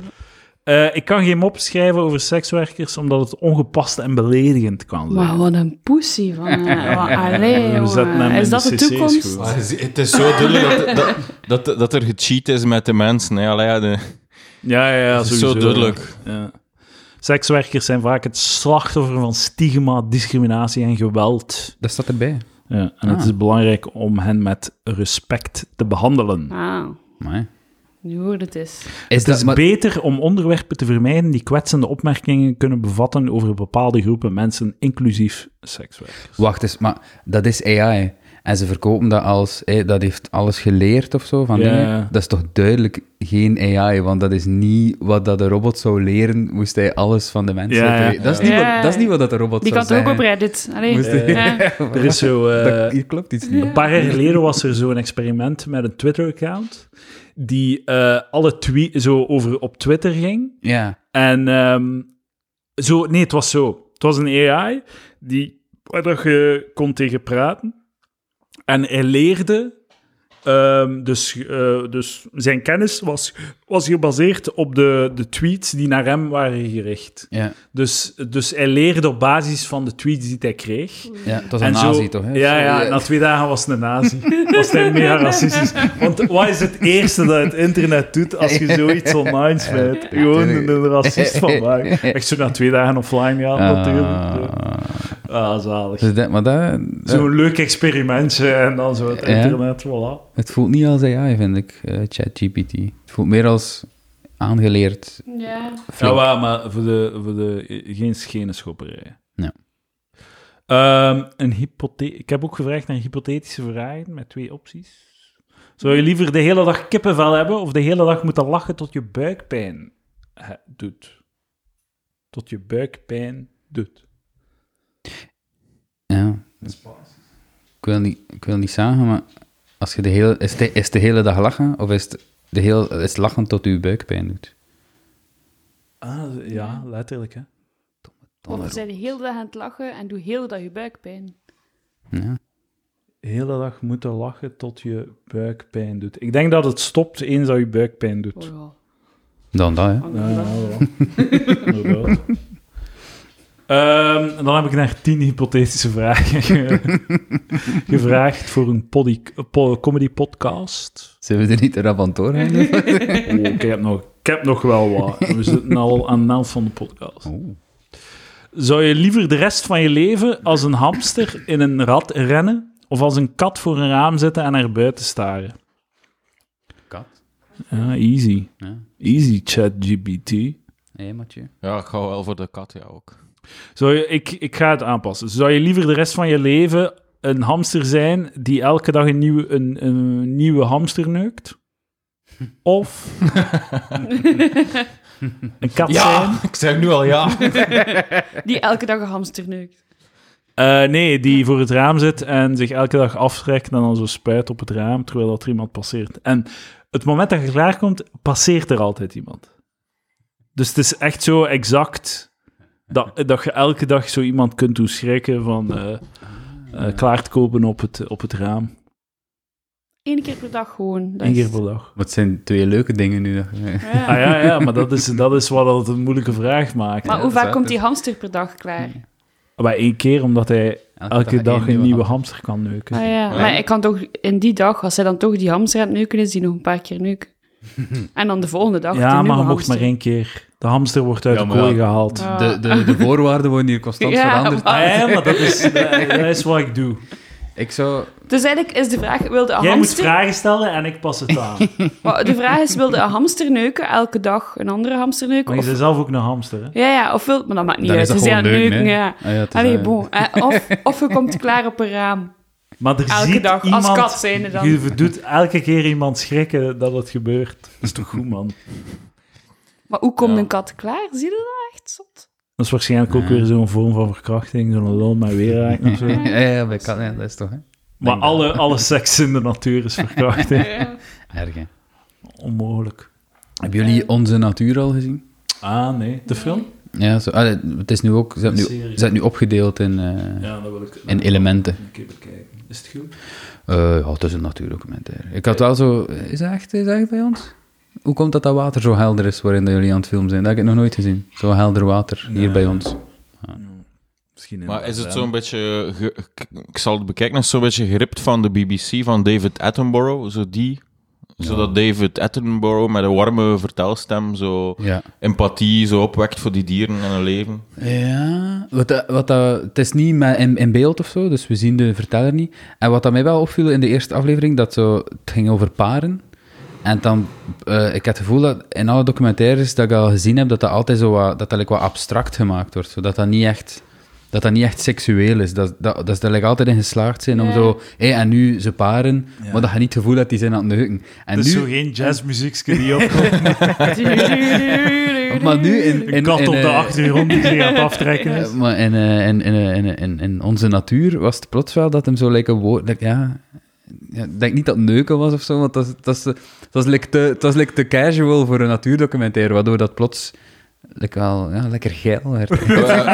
Eh, ik kan geen mop schrijven over sekswerkers, omdat het ongepast en beledigend kan zijn.
Maar wat een pussy van... eh, wat- Allee,
We zetten
jongen.
hem in
Is dat de
CC's
toekomst?
gewoon.
Ah, je ziet- het is zo duidelijk dat, dat, dat, dat er gecheat is met de mensen. Hè. Allee, ja, de-
Ja, ja, ja
het is
sowieso.
zo duidelijk.
Ja. Sekswerkers zijn vaak het slachtoffer van stigma, discriminatie en geweld.
Dat staat erbij.
Ja, en het
Ah.
is belangrijk om hen met respect te behandelen.
Ah,
Amai.
nu hoe het is.
Is
Het
dat,
is
maar-
beter om onderwerpen te vermijden die kwetsende opmerkingen kunnen bevatten over bepaalde groepen mensen, inclusief sekswerkers.
Wacht eens, maar dat is AI. En ze verkopen dat als, hé, dat heeft alles geleerd of zo van
Ja.
dingen. Dat is toch duidelijk geen AI, want dat is niet wat dat de robot zou leren, moest hij alles van de mensen
Ja, ja.
leren. Dat, is niet
Ja.
wat, dat is niet wat dat de robot
Die
zou
kan het ook op
zeggen.
Reddit. Allee.
Moest
hij-
ja.
Er is zo... eh,
Dat- hier klopt iets niet.
Een paar jaar geleden was er zo'n experiment met een Twitter-account die eh, alle tweets zo over op Twitter ging.
Ja.
En ehm, zo, nee, het was zo. Het was een AI die, waar dat je kon tegen praten. En hij leerde, ehm, dus, eh, dus zijn kennis was, was gebaseerd op de, de tweets die naar hem waren gericht.
Ja,
Dus, dus hij leerde op basis van de tweets die hij kreeg.
ja, het was een nazi, toch? Hè?
Ja, ja, na twee dagen was het een nazi. was hij mega racistisch. Want wat is het eerste dat het internet doet als je zoiets online smijt? Gewoon een, een racist van maken. Echt zo na twee dagen offline gaan,
Ah.
natuurlijk. Ah, zalig.
Dus dat- maar dat,
Zo'n leuk experimentje en dan zo het
Ja.
internet, voilà.
het voelt niet als AI, vind ik, eh, ChatGPT. Het voelt meer als aangeleerd.
Ja.
flink.
maar voor de, voor de, geen schenenschopperij.
Ja.
Ehm, een hypothe ik heb ook gevraagd naar hypothetische vragen met twee opties. Zou je liever de hele dag kippenvel hebben of de hele dag moeten lachen tot je buikpijn eh, doet? Tot je buikpijn doet.
Ja. Ik wil niet, ik wil niet zeggen, maar als je de hele, is, de, is de hele dag lachen of is het, de heel, is het lachen tot je buikpijn doet?
Ah, ja, letterlijk, hè.
Of zijn de hele dag aan het lachen en doe heel dat je buikpijn.
Ja.
Heel hele dag moeten lachen tot je buikpijn doet. Ik denk dat het stopt eens dat je buikpijn doet.
Oh ja.
Dan dat, hè.
Oh,
Ja,
dat-
ja, wel. Inderdaad. Ehm, dan heb ik naar tien hypothetische vragen ge- gevraagd voor een poddy- po- comedy podcast.
Zijn we er niet te rap aan doorheen?
Oh, ik, heb nog, ik heb nog wel wat. We zitten al aan de helft van de podcast.
Oeh.
Zou je liever de rest van je leven als een hamster in een rat rennen of als een kat voor een raam zitten en naar buiten staren?
Kat.
Ja, easy.
Ja.
Easy, chat GBT.
Hé, Mathieu.
Ja, ik ga wel voor de kat, ja ook.
Zou je, ik, ik ga het aanpassen. Zou je liever de rest van je leven een hamster zijn die elke dag een nieuwe, een, een nieuwe hamster neukt? Of een kat zijn?
ik zeg nu al ja.
Die elke dag een hamster neukt.
Eh, nee, die voor het raam zit en zich elke dag aftrekt en dan zo spuit op het raam terwijl dat er iemand passeert. En het moment dat je klaarkomt, passeert er altijd iemand. Dus het is echt zo exact dat, dat je elke dag zo iemand kunt doen schrikken van eh, eh, klaar te kopen op het, op het raam.
Eén keer per dag gewoon. dat
Eén
is
keer
het.
per dag.
Wat zijn twee leuke dingen nu?
Ja.
Ah ja, ja maar dat is, dat is wat het een moeilijke vraag maakt.
Maar
Ja,
hoe
dat is
vaak komt
waar. Dus- Mm.
die hamster per dag klaar?
Maar één keer, omdat hij elke dag een nieuwe hamster kan neuken.
Ah ja, maar ik kan toch in die dag, als zij dan toch die hamster aan het neuken is, die nog een paar keer neuken. En dan de volgende dag. die
Ja, maar
nieuwe
je mocht maar
hamster.
één keer. De hamster wordt uit
Ja,
de
maar
kooi
ja.
gehaald.
Ah.
De, de, de voorwaarden worden hier constant
Ja,
veranderd.
maar-
Ah, ja, maar dat is, dat, dat is wat ik doe.
Ik zou...
Dus eigenlijk is de vraag, wilde een
Jij moet
hamster...
vragen stellen en ik pas het aan.
Maar de vraag is, wilde een hamster neuken elke dag een andere hamster neuken?
Maar je
Of,
bent zelf ook een hamster, hè?
ja, ja, of wil... Maar dat maakt niet
Dan
uit.
is dat
Dus ja,
gewoon leuk,
neuken,
hè?
ja.
Ah, ja, het is,
Allee,
eh,
bon. Eh, Of, of je komt klaar op een raam.
Maar er
Elke
ziet
dag, als
iemand...
kat zijnde dan.
Je doet elke keer iemand schrikken dat het gebeurt. Dat is toch goed, man?
Maar hoe komt
Ja.
een kat klaar? Zie je dat echt zot?
Dat is waarschijnlijk ook
Ja.
weer zo'n vorm van verkrachting. Zo'n lol maar weer raken of zo.
Ja, ja, bij kat, ja, dat is toch, hè?
Maar alle, alle seks in de natuur is verkrachting.
Ja.
Erg, hè?
Onmogelijk.
Hebben jullie Onze Natuur al gezien?
Ah, nee. De film?
Ja, zo, allee, het is nu ook... Ze hebben
Een
nu,
serie.
ze zijn nu opgedeeld in, eh,
Ja, dat wil ik...
in elementen.
Een keer bekijken. Is het goed?
Eh, ja, het is een natuurdocumentaire. Ik had wel zo... Is dat echt, is dat echt bij ons? Hoe komt dat dat water zo helder is waarin dat jullie aan het filmen zijn? Dat heb ik nog nooit gezien. Zo helder water, hier
Nee.
bij ons.
Misschien
Maar is het
inderdaad,
zo'n beetje, ge- ik- ik zal het bekijken, is het zo'n beetje geript van de BBC van David Attenborough, zo die. Zodat David Attenborough met een warme vertelstem zo
Ja.
empathie zo opwekt voor die dieren en hun leven.
Ja, wat dat, wat dat, het is niet met in, in beeld of zo, dus we zien de verteller niet. En wat dat mij wel opviel in de eerste aflevering, dat zo, het ging over paren. En dan, eh, ik heb het gevoel dat in alle documentaires dat ik al gezien heb, dat dat altijd zo wat, dat dat like wat abstract gemaakt wordt. Zodat dat niet echt, dat dat niet echt seksueel is. Dat, dat, dat ze er like altijd in geslaagd zijn om
Ja.
zo, hé, en nu ze paren, maar dat je niet het gevoel hebt die zijn aan het neuken. En
Het is
nu,
zo geen jazzmuziekje die opkomt.
maar nu in, in,
Een kat
in,
op de
eh,
achtergrond die zich aan het aftrekken is.
Ja, maar in, eh, in, in, eh, in, in, in onze natuur was het plots wel dat hem zo lijkt een woord... like, ja, ja, ik denk niet dat het neuken was of zo, want dat, is- dat, is, eh, dat, is like te, dat is like te casual voor een natuurdocumentaire, waardoor dat plots like wel, ja, lekker geil werd.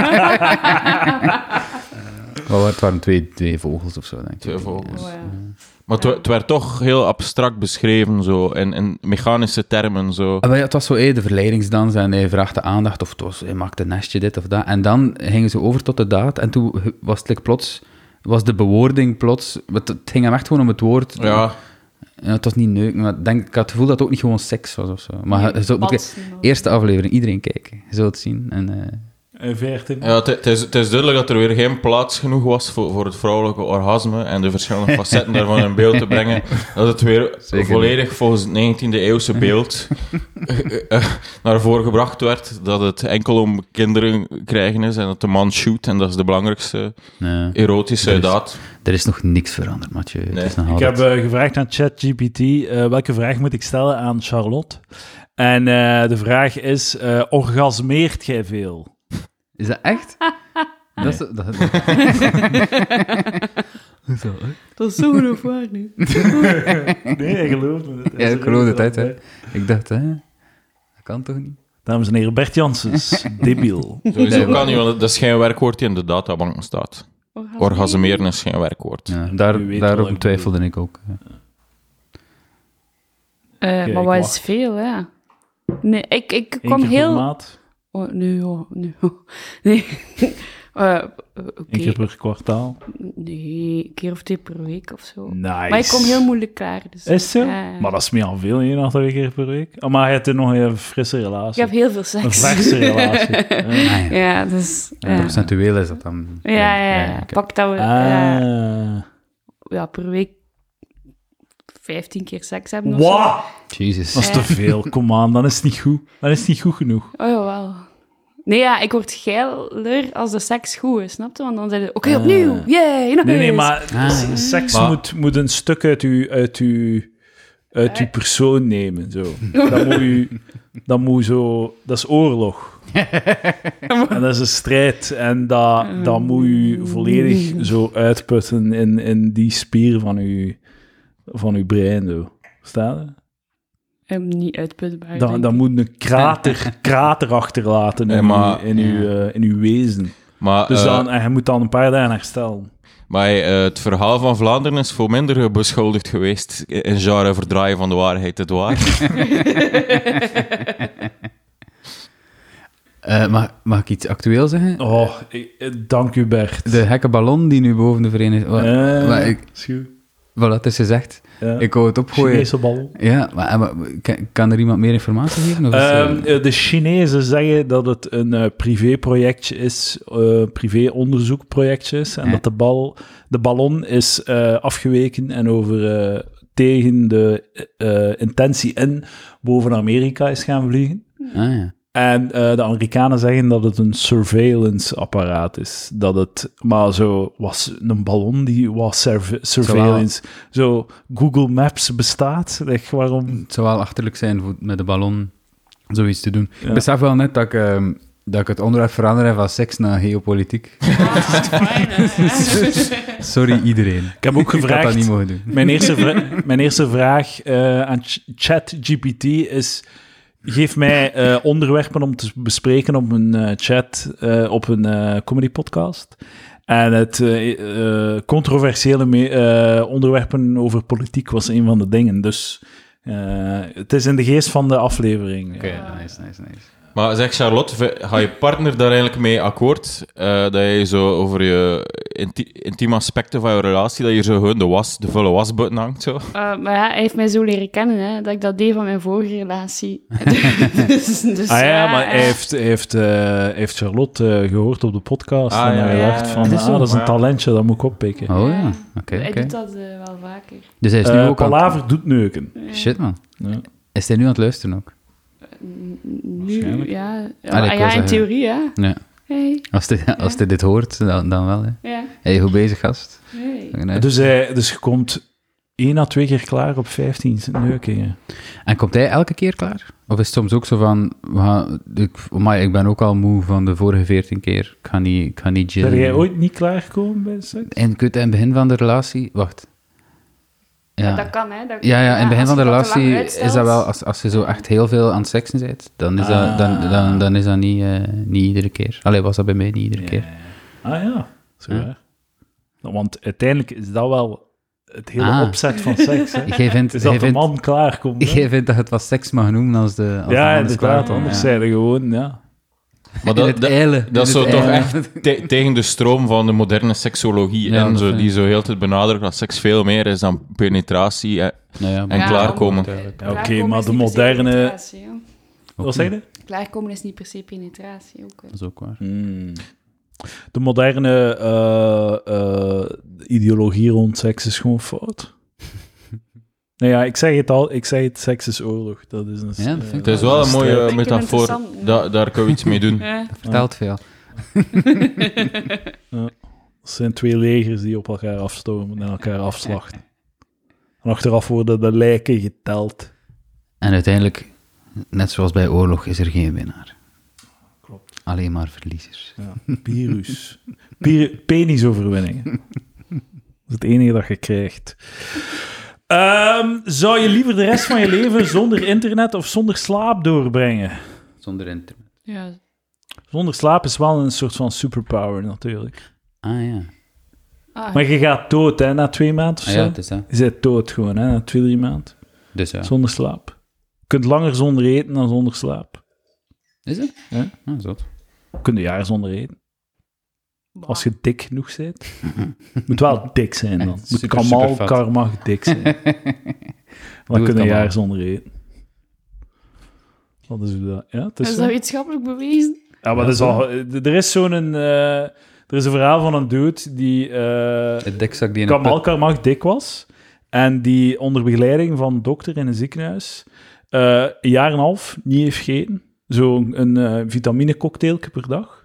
maar het waren twee, twee vogels of zo, denk ik.
Twee vogels.
Oh, ja.
Maar het wa- het werd toch heel abstract beschreven, zo, in, in mechanische termen, zo.
Ah, maar ja, het was zo hey, de verleidingsdans en hij vraagt de aandacht of het was, hij maakt een nestje, dit of dat. En dan gingen ze over tot de daad en toen was het like, plots, was de bewoording plots, het, het ging hem echt gewoon om het woord.
Ja,
Ja, het was niet neuken, maar ik denk, ik had het gevoel dat het ook niet gewoon seks was of zo. Maar je zult moeten-
Balsen, man.
eerste aflevering, iedereen kijken, je zult het zien. En, eh,
En veertien.
ja het, het is, het is duidelijk dat er weer geen plaats genoeg was voor, voor het vrouwelijke orgasme en de verschillende facetten daarvan in beeld te brengen. Dat het weer
Zeker
volledig volgens het 19e eeuwse beeld eh, eh, naar voren gebracht werd. Dat het enkel om kinderen krijgen is en dat de man shoot en dat is de belangrijkste
nee.
erotische
Er is-
daad.
er is nog niks veranderd, Mathieu. Het
Nee.
is nog
Ik
altijd-
heb eh, gevraagd aan ChatGPT eh, welke vraag moet ik stellen aan Charlotte. En eh, de vraag is: eh, orgasmeert jij veel?
Is dat echt? Dat is, dat, dat-
Dat is zo geloofwaardig nu.
Nee, ik geloof het.
Ja, ik geloof het, hè. ik dacht, hè, dat kan toch niet?
eh, Dames en heren, Bert Janssens, debiel.
Sowieso
Nee,
kan niet, want dat is geen werkwoord die in de databanken staat.
Orgasmeren.
Orgasmeren is geen werkwoord.
Ja,
Je
daar,
weet
daarop
wat ik
twijfelde ik ook. ja.
Eh, maar
ik
wat
wacht.
is veel, ja. Nee, ik, ik
Eén
kwam
keer per
heel...
maand,
Oh, nee, oh, nee. oh. Nee. Eh, Oké.
één keer per kwartaal.
Nee, een keer of twee per week of zo.
Nice.
Maar ik kom heel moeilijk klaar. Dus,
Is het zo?
Ja, ja.
Maar dat is meer al veel, één of twee keer per week. Oh, maar je hebt nog een frisse
Ik
relatie.
heb heel veel
Een
seks.
verse relatie. Eh.
Ah, ja.
ja, dus... Ja, ja,
Procentueel is dat dan.
ja. ja.
oké.
Pak dat we... ja,
Ah.
ja, per week 15 keer seks hebben of zo.
Wat? Dat
Jezus.
is te veel. Kom aan, dan is het niet goed. Dan is het niet goed genoeg.
Oh, jawel. Nee, ja, ik word geiler als de seks goed is, snap je? Want dan zeiden oké, opnieuw, yay, nog
Ah. Nee, nee,
eens.
maar
Ah, ja.
seks
Maar-
moet, moet een stuk uit uw, uit uw, uit
Eh.
uw persoon nemen. Zo. Dat, moet u, dat moet zo... Dat is oorlog. en dat is een strijd. En dat, dat moet u volledig zo uitputten in, in die spier van uw, van uw brein. Zo. Staat er?
Ehm, niet uitputbaar,
Dan,
denk
dan
ik.
moet een krater, krater achterlaten in,
Ja, maar-
uw, in, uw, eh, in uw wezen.
Maar,
Dus
eh,
dan, en je moet dan een paar dagen herstellen.
maar eh, het verhaal van Vlaanderen is voor minder beschuldigd geweest in genre verdraaien van de waarheid, het waar.
Eh, mag, mag ik iets actueel zeggen?
Oh, ik- eh, dank u Bert.
De gekke ballon die nu boven de Verenigde... Wa-
Eh,
maar ik-
schuw.
Voilà, het is gezegd.
Ja.
Ik wou het opgooien.
Chinese bal.
Ja, maar, eh, maar kan, kan er iemand meer informatie geven? Of is, eh,
Ehm, eh, de Chinezen zeggen dat het een eh, privéprojectje is, eh privéonderzoekprojectje is, en
Ja.
dat de, bal, de ballon is eh, afgeweken en over eh, tegen de eh, eh, intentie in boven Amerika is gaan vliegen.
ah, ja.
En eh, de Amerikanen zeggen dat het een surveillance-apparaat is. Dat het, maar zo was een ballon die was surve- surveillance. Zo, Google Maps bestaat. Echt, waarom?
Het zou wel achterlijk zijn voor, met de ballon zoiets te doen.
Ja.
Ik besef wel net dat ik, ehm, dat ik het onderwerp veranderd heb van seks naar geopolitiek.
Ah,
Sorry iedereen.
Ik heb ook
Ik had dat niet
gevraagd.
mogen doen.
Mijn eerste, vra- mijn eerste vraag eh, aan Ch- ChatGPT is: geef mij eh, onderwerpen om te bespreken op een eh, chat, eh, op een eh, comedy podcast. En het eh, eh, controversiële me- eh, onderwerpen over politiek was een van de dingen. Dus eh, het is in de geest van de aflevering.
Oké, nice, nice, nice.
maar zeg Charlotte, v- ga je partner daar eigenlijk mee akkoord? eh, dat je zo over je inti- intieme aspecten van je relatie, dat je zo gewoon de, was, de vuile wasbutton hangt zo?
Eh, maar ja, hij heeft mij zo leren kennen, hè, dat ik dat deed van mijn vorige relatie. dus, dus,
Ah ja, maar
eh,
hij heeft, hij heeft, eh, hij heeft Charlotte eh, gehoord op de podcast.
Ah,
en
ja,
hij
ja.
dacht van,
Is dat
ah,
zo?
dat is
Ja.
een talentje, dat moet ik oppikken.
Oh
Ja.
ja, oké,
Hij
oké.
doet dat eh, wel vaker.
Dus hij is nu
Eh,
ook aan-
Palaver doet neuken.
Shit man.
Ja.
Is hij nu aan het luisteren ook?
Nu,
Waarschijnlijk.
ja.
Ah,
Ja,
wou
ja, in
zeggen-
theorie, hè.
Ja.
Hey,
Als hij, als hij dit hoort, dan, dan wel. Hè.
ja,
Hey, goed bezig gast.
hey.
Nee.
Dus, hij, dus je komt één à twee keer klaar op 15 neukingen.
En komt hij elke keer klaar? Of is het soms ook zo van, we gaan- ik, maar ik ben ook al moe van de vorige veertien keer. Ik ga niet, ik ga niet
Ben
chillen.
jij ooit niet klaargekomen bij seks?
En kun je het in het begin van de relatie... Wacht. Ja,
Dat kan, hè. Dat,
ja, ja in het begin
als
van de
je te lang
relatie
uitstelt-
is dat wel... Als, als je zo echt heel veel aan het seksen bent, dan is dat,
Ah.
dan, dan, dan is dat niet, eh, niet iedere keer. Allee, was dat bij mij niet iedere keer.
Ah ja, zo
Ja.
waar. Nou, Want uiteindelijk is dat wel het hele
Ah.
opzet van seks. Hè?
Jij vindt,
Is dat
jij
de
vindt,
man klaarkomt. hè?
jij vindt dat het wat seks mag noemen als de... Als de
Ja,
man is klaar,
inderdaad.
dan,
Anders
ja.
zijn er gewoon, ja.
Maar
In het ijle. In
Dat is zo
het
toch
ijle.
echt te- tegen de stroom van de moderne seksologie
Ja,
en
dat
zo,
vind
die
ik.
zo heel de tijd benadrukt dat seks veel meer is dan penetratie. En,
Nou ja,
en
maar-
klaarkomen.
Ja, Oké,
Klaarkomen
maar
is
de
niet per se
moderne...
penetratie, hoor.
Wat zei je?
Klaarkomen is niet per se penetratie. Ook, hè.
Dat is ook waar.
De moderne eh, eh, ideologie rond seks is gewoon fout. nou ja, ik zeg het al, ik zeg het, seks is oorlog. Dat is een,
Ja, dat vind ik
Het is wel een
strijd.
mooie
vind ik
metafoor.
interessant, ja.
Da- daar kunnen we iets mee doen.
Ja.
Vertelt veel.
Het zijn twee legers die op elkaar afstomen en elkaar afslachten. En achteraf worden de lijken geteld.
En uiteindelijk, net zoals bij oorlog, is er geen winnaar.
Klopt.
Alleen maar verliezers.
Ja, virus. Pir- penisoverwinningen. Dat is het enige dat je krijgt. Ehm, zou je liever de rest van je leven zonder internet of zonder slaap doorbrengen?
Zonder internet.
Ja.
Zonder slaap is wel een soort van superpower natuurlijk.
Ah ja.
Ah,
Maar je gaat dood, hè, na twee maanden of
Ah
zo.
ja, het is dat.
Je bent dood gewoon, hè, na twee, drie maanden.
Dus ja.
Zonder slaap. Je kunt langer zonder eten dan zonder slaap.
Is het?
Ja.
Ah, zot.
Je kunt een jaar zonder eten. Als je dik genoeg bent. Moet wel dik zijn dan.
Echt
Moet
super,
kamal,
super vet.
karma dik zijn. Dan
het
kun je een
kamal.
jaar zonder eten. Wat is hoe dat? Ja, het is
is
zo.
dat wetenschappelijk bewezen?
Ja, maar dat is al, er is zo'n... eh, er is een verhaal van een dude die... eh,
Het dekzak die in een
Kamal
put...
Karmach dik was. En die onder begeleiding van een dokter in een ziekenhuis eh, een jaar en een half niet heeft gegeten. Zo'n een, eh vitaminecocktailje per dag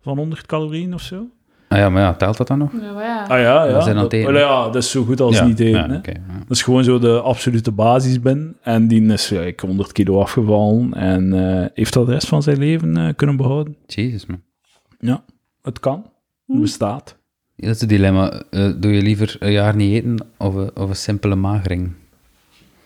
van 100 calorieën of zo.
Ah ja, maar ja, telt dat dan nog?
Ja, Nou, maar ja.
Ah ja, ja.
Dat zijn dan
dat,
het eten.
wel ja, dat is zo goed als
ja.
niet eten.
Ja,
hè.
oké, ja.
Dat is gewoon zo de absolute basis ben. En die is ja, ik 100 kilo afgevallen en eh, heeft dat de rest van zijn leven eh, kunnen behouden.
Jezus, man.
Ja, het kan. Het bestaat.
Ja, Dat is het dilemma. Eh, doe je liever een jaar niet eten of, een- of een simpele magering?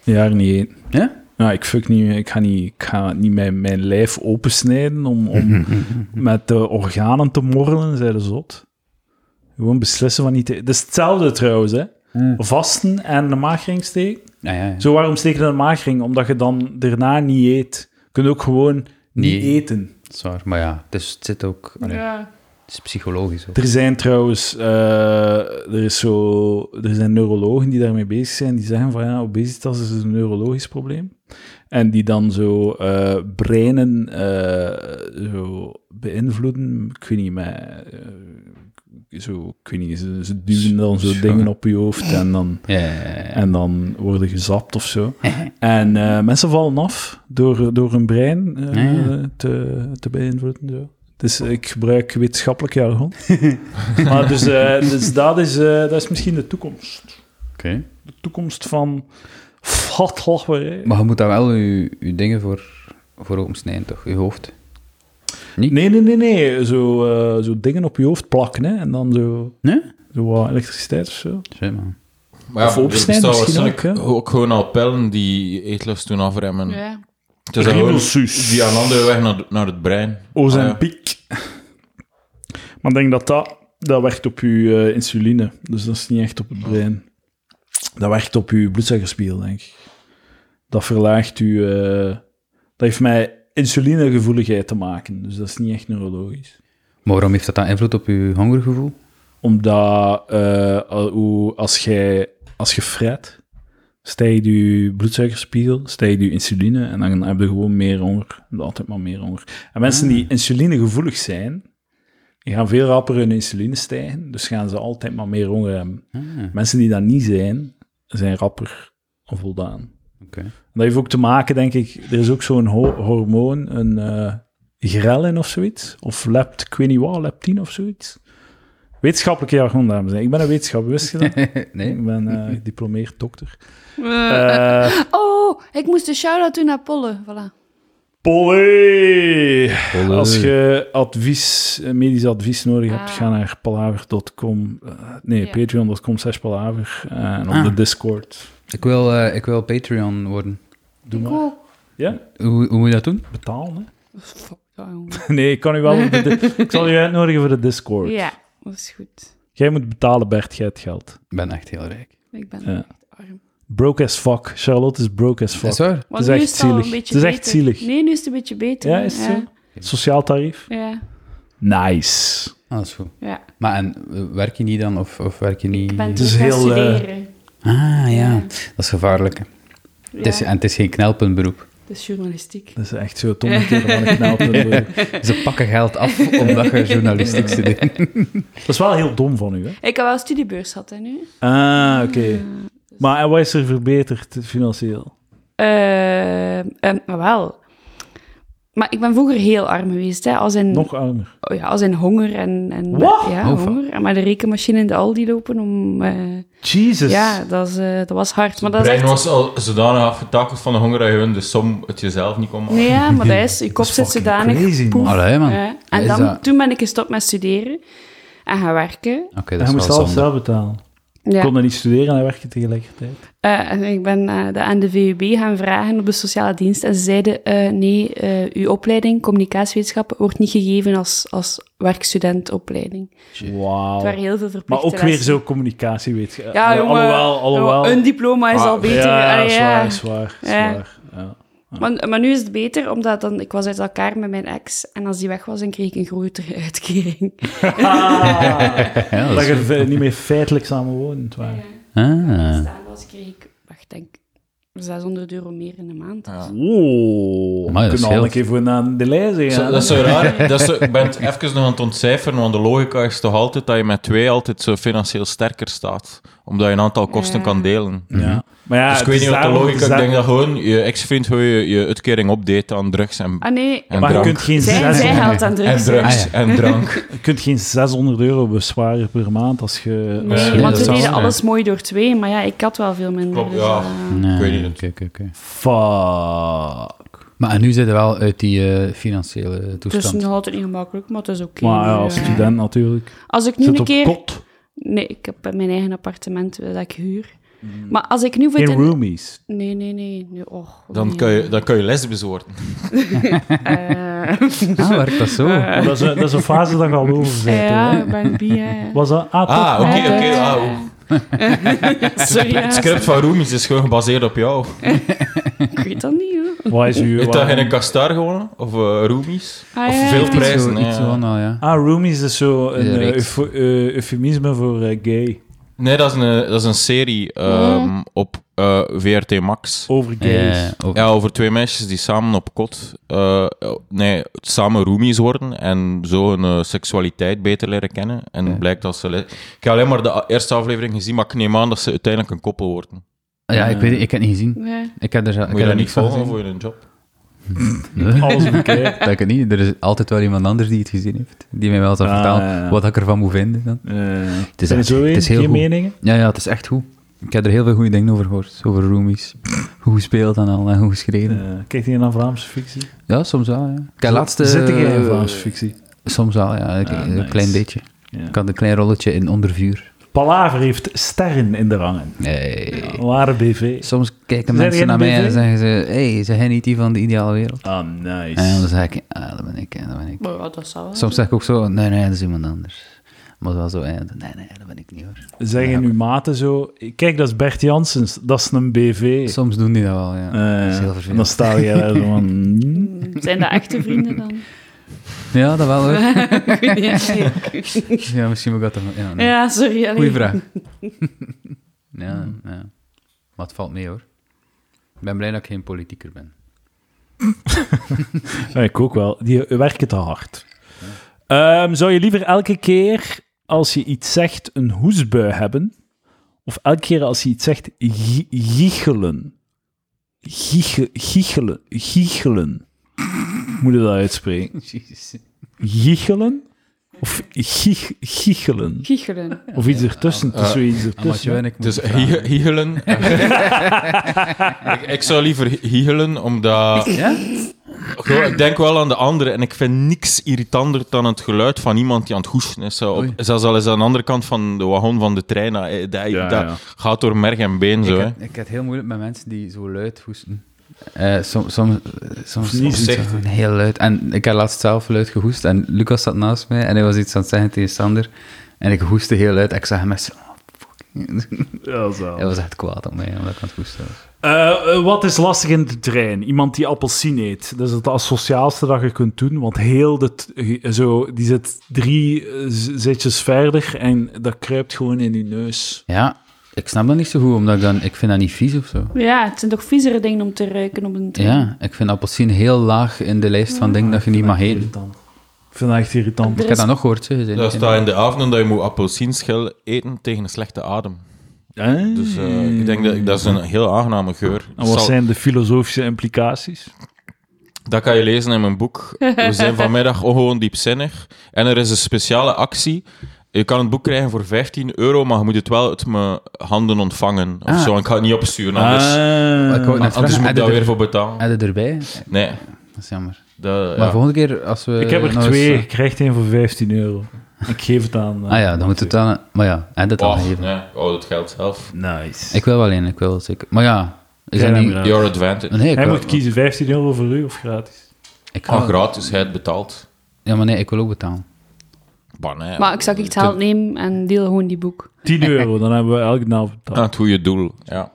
Een jaar niet eten.
Ja?
Nou, ik fuck niet, ik ga niet, ik ga niet mijn, mijn lijf opensnijden om, om met de organen te morrelen, zei de zot. Gewoon beslissen van niet te... Dat is hetzelfde trouwens, hè.
Hm.
Vasten en de maagring steken.
Ah, ja, ja.
Zo, waarom steken we de maagring? Omdat je dan daarna niet eet. Je kunt ook gewoon niet
Nee.
eten.
Dat is waar. Maar ja, het, is, het zit ook... allee,
Ja.
Het is psychologisch ook.
Er zijn trouwens, eh, er, is zo, er zijn neurologen die daarmee bezig zijn, die zeggen van ja, obesitas is een neurologisch probleem. En die dan zo eh, breinen eh, zo beïnvloeden, ik weet niet, maar eh, zo, ik weet niet, ze, ze duwen dan zo
Sure.
dingen op je hoofd en dan,
Ja, ja, ja, ja.
en dan worden gezapt of zo. En eh, mensen vallen af door, door hun brein eh,
Ja, ja.
te, te beïnvloeden. Zo. Dus ik gebruik wetenschappelijk jargon. maar dus, eh, dus dat, is, eh, dat is misschien de toekomst.
Oké.
De toekomst van fatlachwerij.
Maar je moet daar wel je, je dingen voor, voor opensnijden, toch? Je hoofd.
Nee, nee, nee, nee. Zo, eh, zo dingen op je hoofd plakken hè. en dan zo,
Nee?
zo wat elektriciteit of zo.
Shit, man.
Maar ja,
Of opsnijden
er
misschien
bestaan waarschijnlijk
ook,
ook, gewoon al pillen die eetlust doen
Hm.
afremmen.
ja.
Het is gewoon
Riemelsuus.
via een andere weg naar, naar het brein. Ah, ja.
Ozempic. Oh, Maar ik denk dat dat, dat werkt op je eh insuline. Dus dat is niet echt op
Ah.
het brein. Dat werkt op je bloedzakkerspiegel, denk ik. Dat verlaagt je... eh, dat heeft met insulinegevoeligheid te maken. Dus dat is niet echt neurologisch.
Maar waarom heeft dat dan invloed op je hongergevoel?
Omdat eh, al- hoe- als, jij, als je fret, stijgt je bloedsuikerspiegel, stijgt je insuline en dan heb je gewoon meer honger. Je hebt Altijd maar meer honger. En mensen die insulinegevoelig zijn, die gaan veel rapper hun insuline stijgen, dus gaan ze altijd maar meer honger hebben.
Ah,
Mensen die dat niet zijn, zijn rapper of voldaan.
oké.
En dat heeft ook te maken, denk ik, er is ook zo'n ho- hormoon, een eh grelin of zoiets. Of lept, ik weet niet wat, leptine of zoiets. Wetenschappelijke jargon, dames en heren. Ik ben een wetenschapper, wist je dat?
nee?
Ik ben eh, gediplomeerd dokter.
Eh,
Eh
Oh, ik moest een shout-out doen naar Polle. Voilà.
Polly!
Polly.
Als je advies, eh, medisch advies nodig hebt,
Ah.
ga naar palaver.com. eh, nee,
Ja.
patreon.com slash palaver. eh, en op
Ah.
de Discord.
Ik wil, eh, ik wil Patreon worden.
Doe
ik
maar.
ook.
Ja,
Hoe, hoe moet je dat doen?
betalen, hè?
Fuck, ja, jongen.
Nee, ik kan u wel... op de di- ik zal u uitnodigen voor de Discord.
Ja, dat is goed.
Jij moet betalen, Bert, jij het geld.
Ik ben echt heel rijk.
Ik ben
Ja.
echt arm.
Broke as fuck. Charlotte is broke as fuck.
Is dat waar?
Want
is
nu
echt
is het al
zielig.
een beetje
Het is echt
beter.
zielig.
Nee, nu is het een beetje beter.
Ja, is het
ja.
Sociaal tarief.
Ja,
Nice.
Ah, dat is goed.
ja.
Maar en, eh, werk je niet dan? Of, of werk je niet...
Ik ben
Het
terug
is
gaan
heel, eh,
studeren.
Ah, ja.
Ja.
Dat is gevaarlijk. hè. Het is,
ja.
en het is geen knelpuntberoep.
Dat is journalistiek.
Dat is echt zo het omgekeerde van een knelpunt.
Ze pakken geld af omdat je journalistiek studeert.
Dat is wel heel dom van u, hè?
Ik heb wel een studiebeurs gehad, hè, nu.
Ah, oké. Maar en wat is er verbeterd financieel?
Eh, ehm, maar wel. Maar ik ben vroeger heel arm geweest, hè. Als in,
Nog armer.
oh ja, als in honger en... en
Wat?
Ja,
Oh, fuck.
honger. En maar de rekenmachine in de Aldi lopen om... eh,
Jesus.
ja, dat, is, eh, dat was hard. Maar
Het
dat is
brein
echt...
was al zodanig afgetakeld van de honger dat je hun de som het jezelf niet kon maken.
Nee, ja, maar dat is... Je kop zit
fucking
zodanig...
crazy,
poef.
man.
Allee, man.
Ja.
Wat
En
is
dan,
dat?
toen ben ik gestopt met studeren en gaan werken.
Oké, dat
Hij
is
moest
wel
alles
zonde.
zelf betalen. Ik
Ja.
kon er niet studeren en werken tegelijkertijd.
Eh, en ik ben eh, dat aan de VUB gaan vragen op de sociale dienst. En ze zeiden, eh, nee, eh, uw opleiding, communicatiewetenschappen, wordt niet gegeven als, als werkstudentopleiding. Het
Wauw.
waren heel veel verplichte
Maar ook weer
lessen.
zo communicatiewetenschap.
Ja,
Eh,
jongen,
alhoewel, alhoewel.
Een diploma is
Ah,
al beter.
Ja,
Allee,
zwaar, zwaar,
Ja.
zwaar. Ja.
Maar, maar nu is het beter, omdat dan, ik was uit elkaar met mijn ex. En als die weg was, dan kreeg ik een grotere uitkering.
Ja, dat
Dat
is-
je ve- niet meer feitelijk samenwonend waren.
Ah.
Staan was, kreeg ik, wacht, denk 600 euro meer in de maand.
Ja.
Oeh,
Amai,
we kunnen
dat
al een
scheelt.
keer voor naar de lijst
Zo-
gaan.
dat is zo raar. Dat is zo- ik ben het even nog aan het ontcijferen, want de logica is toch altijd dat je met twee altijd zo financieel sterker staat. Omdat je een aantal kosten
Ja.
kan delen.
ja. Maar ja,
dus ik
het
weet
is
niet wat de
daarom-
logica...
het
Ik
is
denk dat
daarom-
gewoon je ex-vriend gewoon je, je uitkering opdeed aan drugs en,
Ah nee,
en
Maar je
drank.
kunt geen,
zij,
zes-
zij haalt aan
En
drugs.
drugs
Ah,
en drank.
je kunt geen 600 euro besparen per maand als je...
Nee,
als je-
Ja,
want
dat
we
zou
deden
zijn.
alles mooi door twee, maar ja, ik had wel veel minder.
Klopt,
dus,
ja.
eh,
Nee,
Ik weet niet.
oké, oké, oké.
Fuck.
Maar en nu zit je wel uit die eh, financiële
het is
toestand.
dus nog altijd niet gemakkelijk, maar het is oké.
Maar ja,
nu,
als
eh.
student natuurlijk.
Als ik nu
Zit
een
op
keer...
kot.
Nee, ik heb mijn eigen appartement eh, dat ik huur.
Mm.
Maar als ik nu... voor
Geen
de-
roomies.
Nee, nee, nee. nee. Och,
Dan
nee.
kan je, dan kan je lesbisch worden.
Eh,
Ah, werkt dat zo?
Maar Dat is, een, dat is een fase dat je al over bent.
ja,
hè.
ik ben bi, hè.
Was dat... Ah, toch?
Ah, oké,
Eh,
oké. ah, oeh.
Sorry, ja,
het script van Roomies is gewoon gebaseerd op jou.
ik weet dat niet, hoor.
Wat is uw...
Heeft dat geen kastar gewonnen? Of eh Roomies?
Ah,
of
ja,
veel
ja.
Iets
prijzen?
zo, iets
ja.
zo van al, ja.
Ah, roomies is zo een
Ja,
eh,
reeks.
eufo- eh, eufemisme voor eh, gay.
Nee, dat is een, dat is een serie ehm, op eh, VRT
Oh.
Max.
Over gays.
Ja, oh. ook-
Ja, over twee meisjes die samen op kot, eh, nee, samen roomies worden en zo hun eh, seksualiteit beter leren kennen. En blijkt dat ze. le- Ik heb alleen maar de a- eerste aflevering gezien, maar ik neem aan dat ze uiteindelijk een koppel worden.
ja, ik weet het, ik heb het niet gezien.
Ja.
Ik heb er, zo- ik
Moet
heb
je
er
dat niet
niks van
volgen
gezien.
voor je een job?
Alles bekijkt.
Dat ik het niet. Er is altijd wel iemand anders die het gezien heeft. Die mij wel zal
Ah,
vertellen
ja, ja.
wat ik ervan moet vinden. Dan.
het
is
is,
echt-
Eh, zo
het
weer
is heel
geen
goed.
meningen.
Ja, ja, het is echt goed. Ik heb er heel veel goede dingen over gehoord. Dus Over roomies. Hoe gespeeld en al en hoe geschreven.
Eh, kijk je naar Vlaamse fictie?
Ja, soms wel. Ja. Ik heb laatste...
Zit ik in
eh,
Vlaamse fictie?
Soms wel, ja. Ik-
Ah,
een
nice.
klein beetje.
Ja.
Ik had een klein rolletje in ondervuur.
Palaver heeft sterren in de rangen.
Nee.
Ware BV.
Soms kijken
Zijn jij
mensen naar
een
mij en
BV?
zeggen ze... hey, zijn jij niet die van de ideale wereld?
Ah,
En dan
nice.
zeg ik... Ah, dat ben ik, eh, dat ben ik.
Maar ja, dat zou wel.
Soms zeg ik ook zo... Nee, nee, dat is iemand anders. Maar wel zo... eh, Nee, nee, dat ben ik niet hoor.
Zeggen uw maten zo... Kijk, dat is Bert Janssens. Dat is een BV.
Soms doen die dat wel, ja.
Eh,
dat is heel
en dan
vervelend.
sta je daar zo van... hmm.
Zijn dat echte vrienden dan?
Ja, dat wel hoor.
Ik weet niet.
ja, misschien moet ik dat toch... Ja, nee.
Ja, sorry. allee.
Goeie vraag. ja, ja. Maar het valt mee hoor. Ik ben blij dat ik geen politieker ben.
Ja, ik ook wel. Die werken te hard. Ehm, zou je liever elke keer als je iets zegt een hoesbui hebben? Of elke keer als je iets zegt gie- giechelen? Giege- Giechelen. Giechelen. Moet je dat uitspreken?
Jezus.
Giechelen? Of giech- giechelen?
Giechelen.
Of iets ertussen? Het is zoiets
Amatje
ertussen.
en Ah, ik moet
Dus
het vragen.
hie- hiegelen. ik, ik zou liever hie- hiegelen, omdat.
Ja?
Goh, ik denk wel aan de anderen en ik vind niks irritanter dan het geluid van iemand die aan het hoesten is. Zo op-
Oei.
zelfs al is dat aan de andere kant van de wagon van de trein. Dat, eh, dat,
Ja,
dat
ja.
gaat door merg en been. Zo,
Ik
hè.
heb, ik heb het heel moeilijk met mensen die zo luid hoesten. Eh, som- som- eh, soms
niet
soms
zichtig.
gewoon heel luid. En ik heb laatst zelf luid gehoest en Lucas zat naast mij en hij was iets aan het zeggen tegen Sander. En ik hoestte heel luid en ik zag hem echt zo... oh, fucking-
Ja, zo.
Hij was echt kwaad op mij omdat ik aan het hoesten was.
Eh, eh, wat is lastig in de trein? Iemand die appelsien eet. Dat is het asociaalste dat je kunt doen, want heel de t- eh, zo, die zit drie eh, z- zitjes verder en dat kruipt gewoon in je neus.
Ja, ik snap dat niet zo goed, omdat ik, dan, ik vind dat niet vies of zo.
Ja, het zijn toch viezere dingen om te ruiken op een trein.
Ja, ik vind appelsien heel laag in de lijst van dingen dat je niet mag eten.
Irritant. Ik vind dat echt irritant.
Ik heb dat nog gehoord, hè. Je zei
Dat
niet-
staat in de avonden dat je moet appelsienschil eten tegen een slechte adem. Dus
Hmm.
eh, ik denk dat dat is een heel aangename geur.
En wat
Zal-
zijn de filosofische implicaties?
Dat kan je lezen in mijn boek. We zijn vanmiddag gewoon diepzinnig. En er is een speciale actie. Je kan het boek krijgen voor 15 euro, maar je moet het wel uit mijn handen ontvangen. Of
Ah.
zo. En ik ga het niet opsturen,
Ah,
anders,
Nou, dus- Ik wou net
anders
vragen,
dus moet ik
heb je
daar
er-
weer voor betalen.
Heb je erbij?
Nee,
Dat is jammer.
dat,
Maar
ja.
volgende keer als we...
ik heb er
nog eh, nou eens-
twee, ik krijg één voor 15 euro. Ik geef het aan... eh,
Ah ja, dan moet het aan... Maar ja, en dat al
Oh,
geven.
nee. oh, dat geldt zelf.
Nice.
Ik wil wel één, ik wil zeker. Maar ja, is
Jij
dat
hem
niet...
gratis.
Your advantage.
Nee, ik
Hij
wil-
moet kiezen 15 euro voor u of gratis.
Ik wil-
Ah, gratis, hij het betaalt.
Ja, maar nee, ik wil ook betalen.
Bah, nee.
Maar ik zou iets geld nemen en deel gewoon die boek.
10 euro, dan hebben we elke naam betaald.
Aan het goede doel, ja.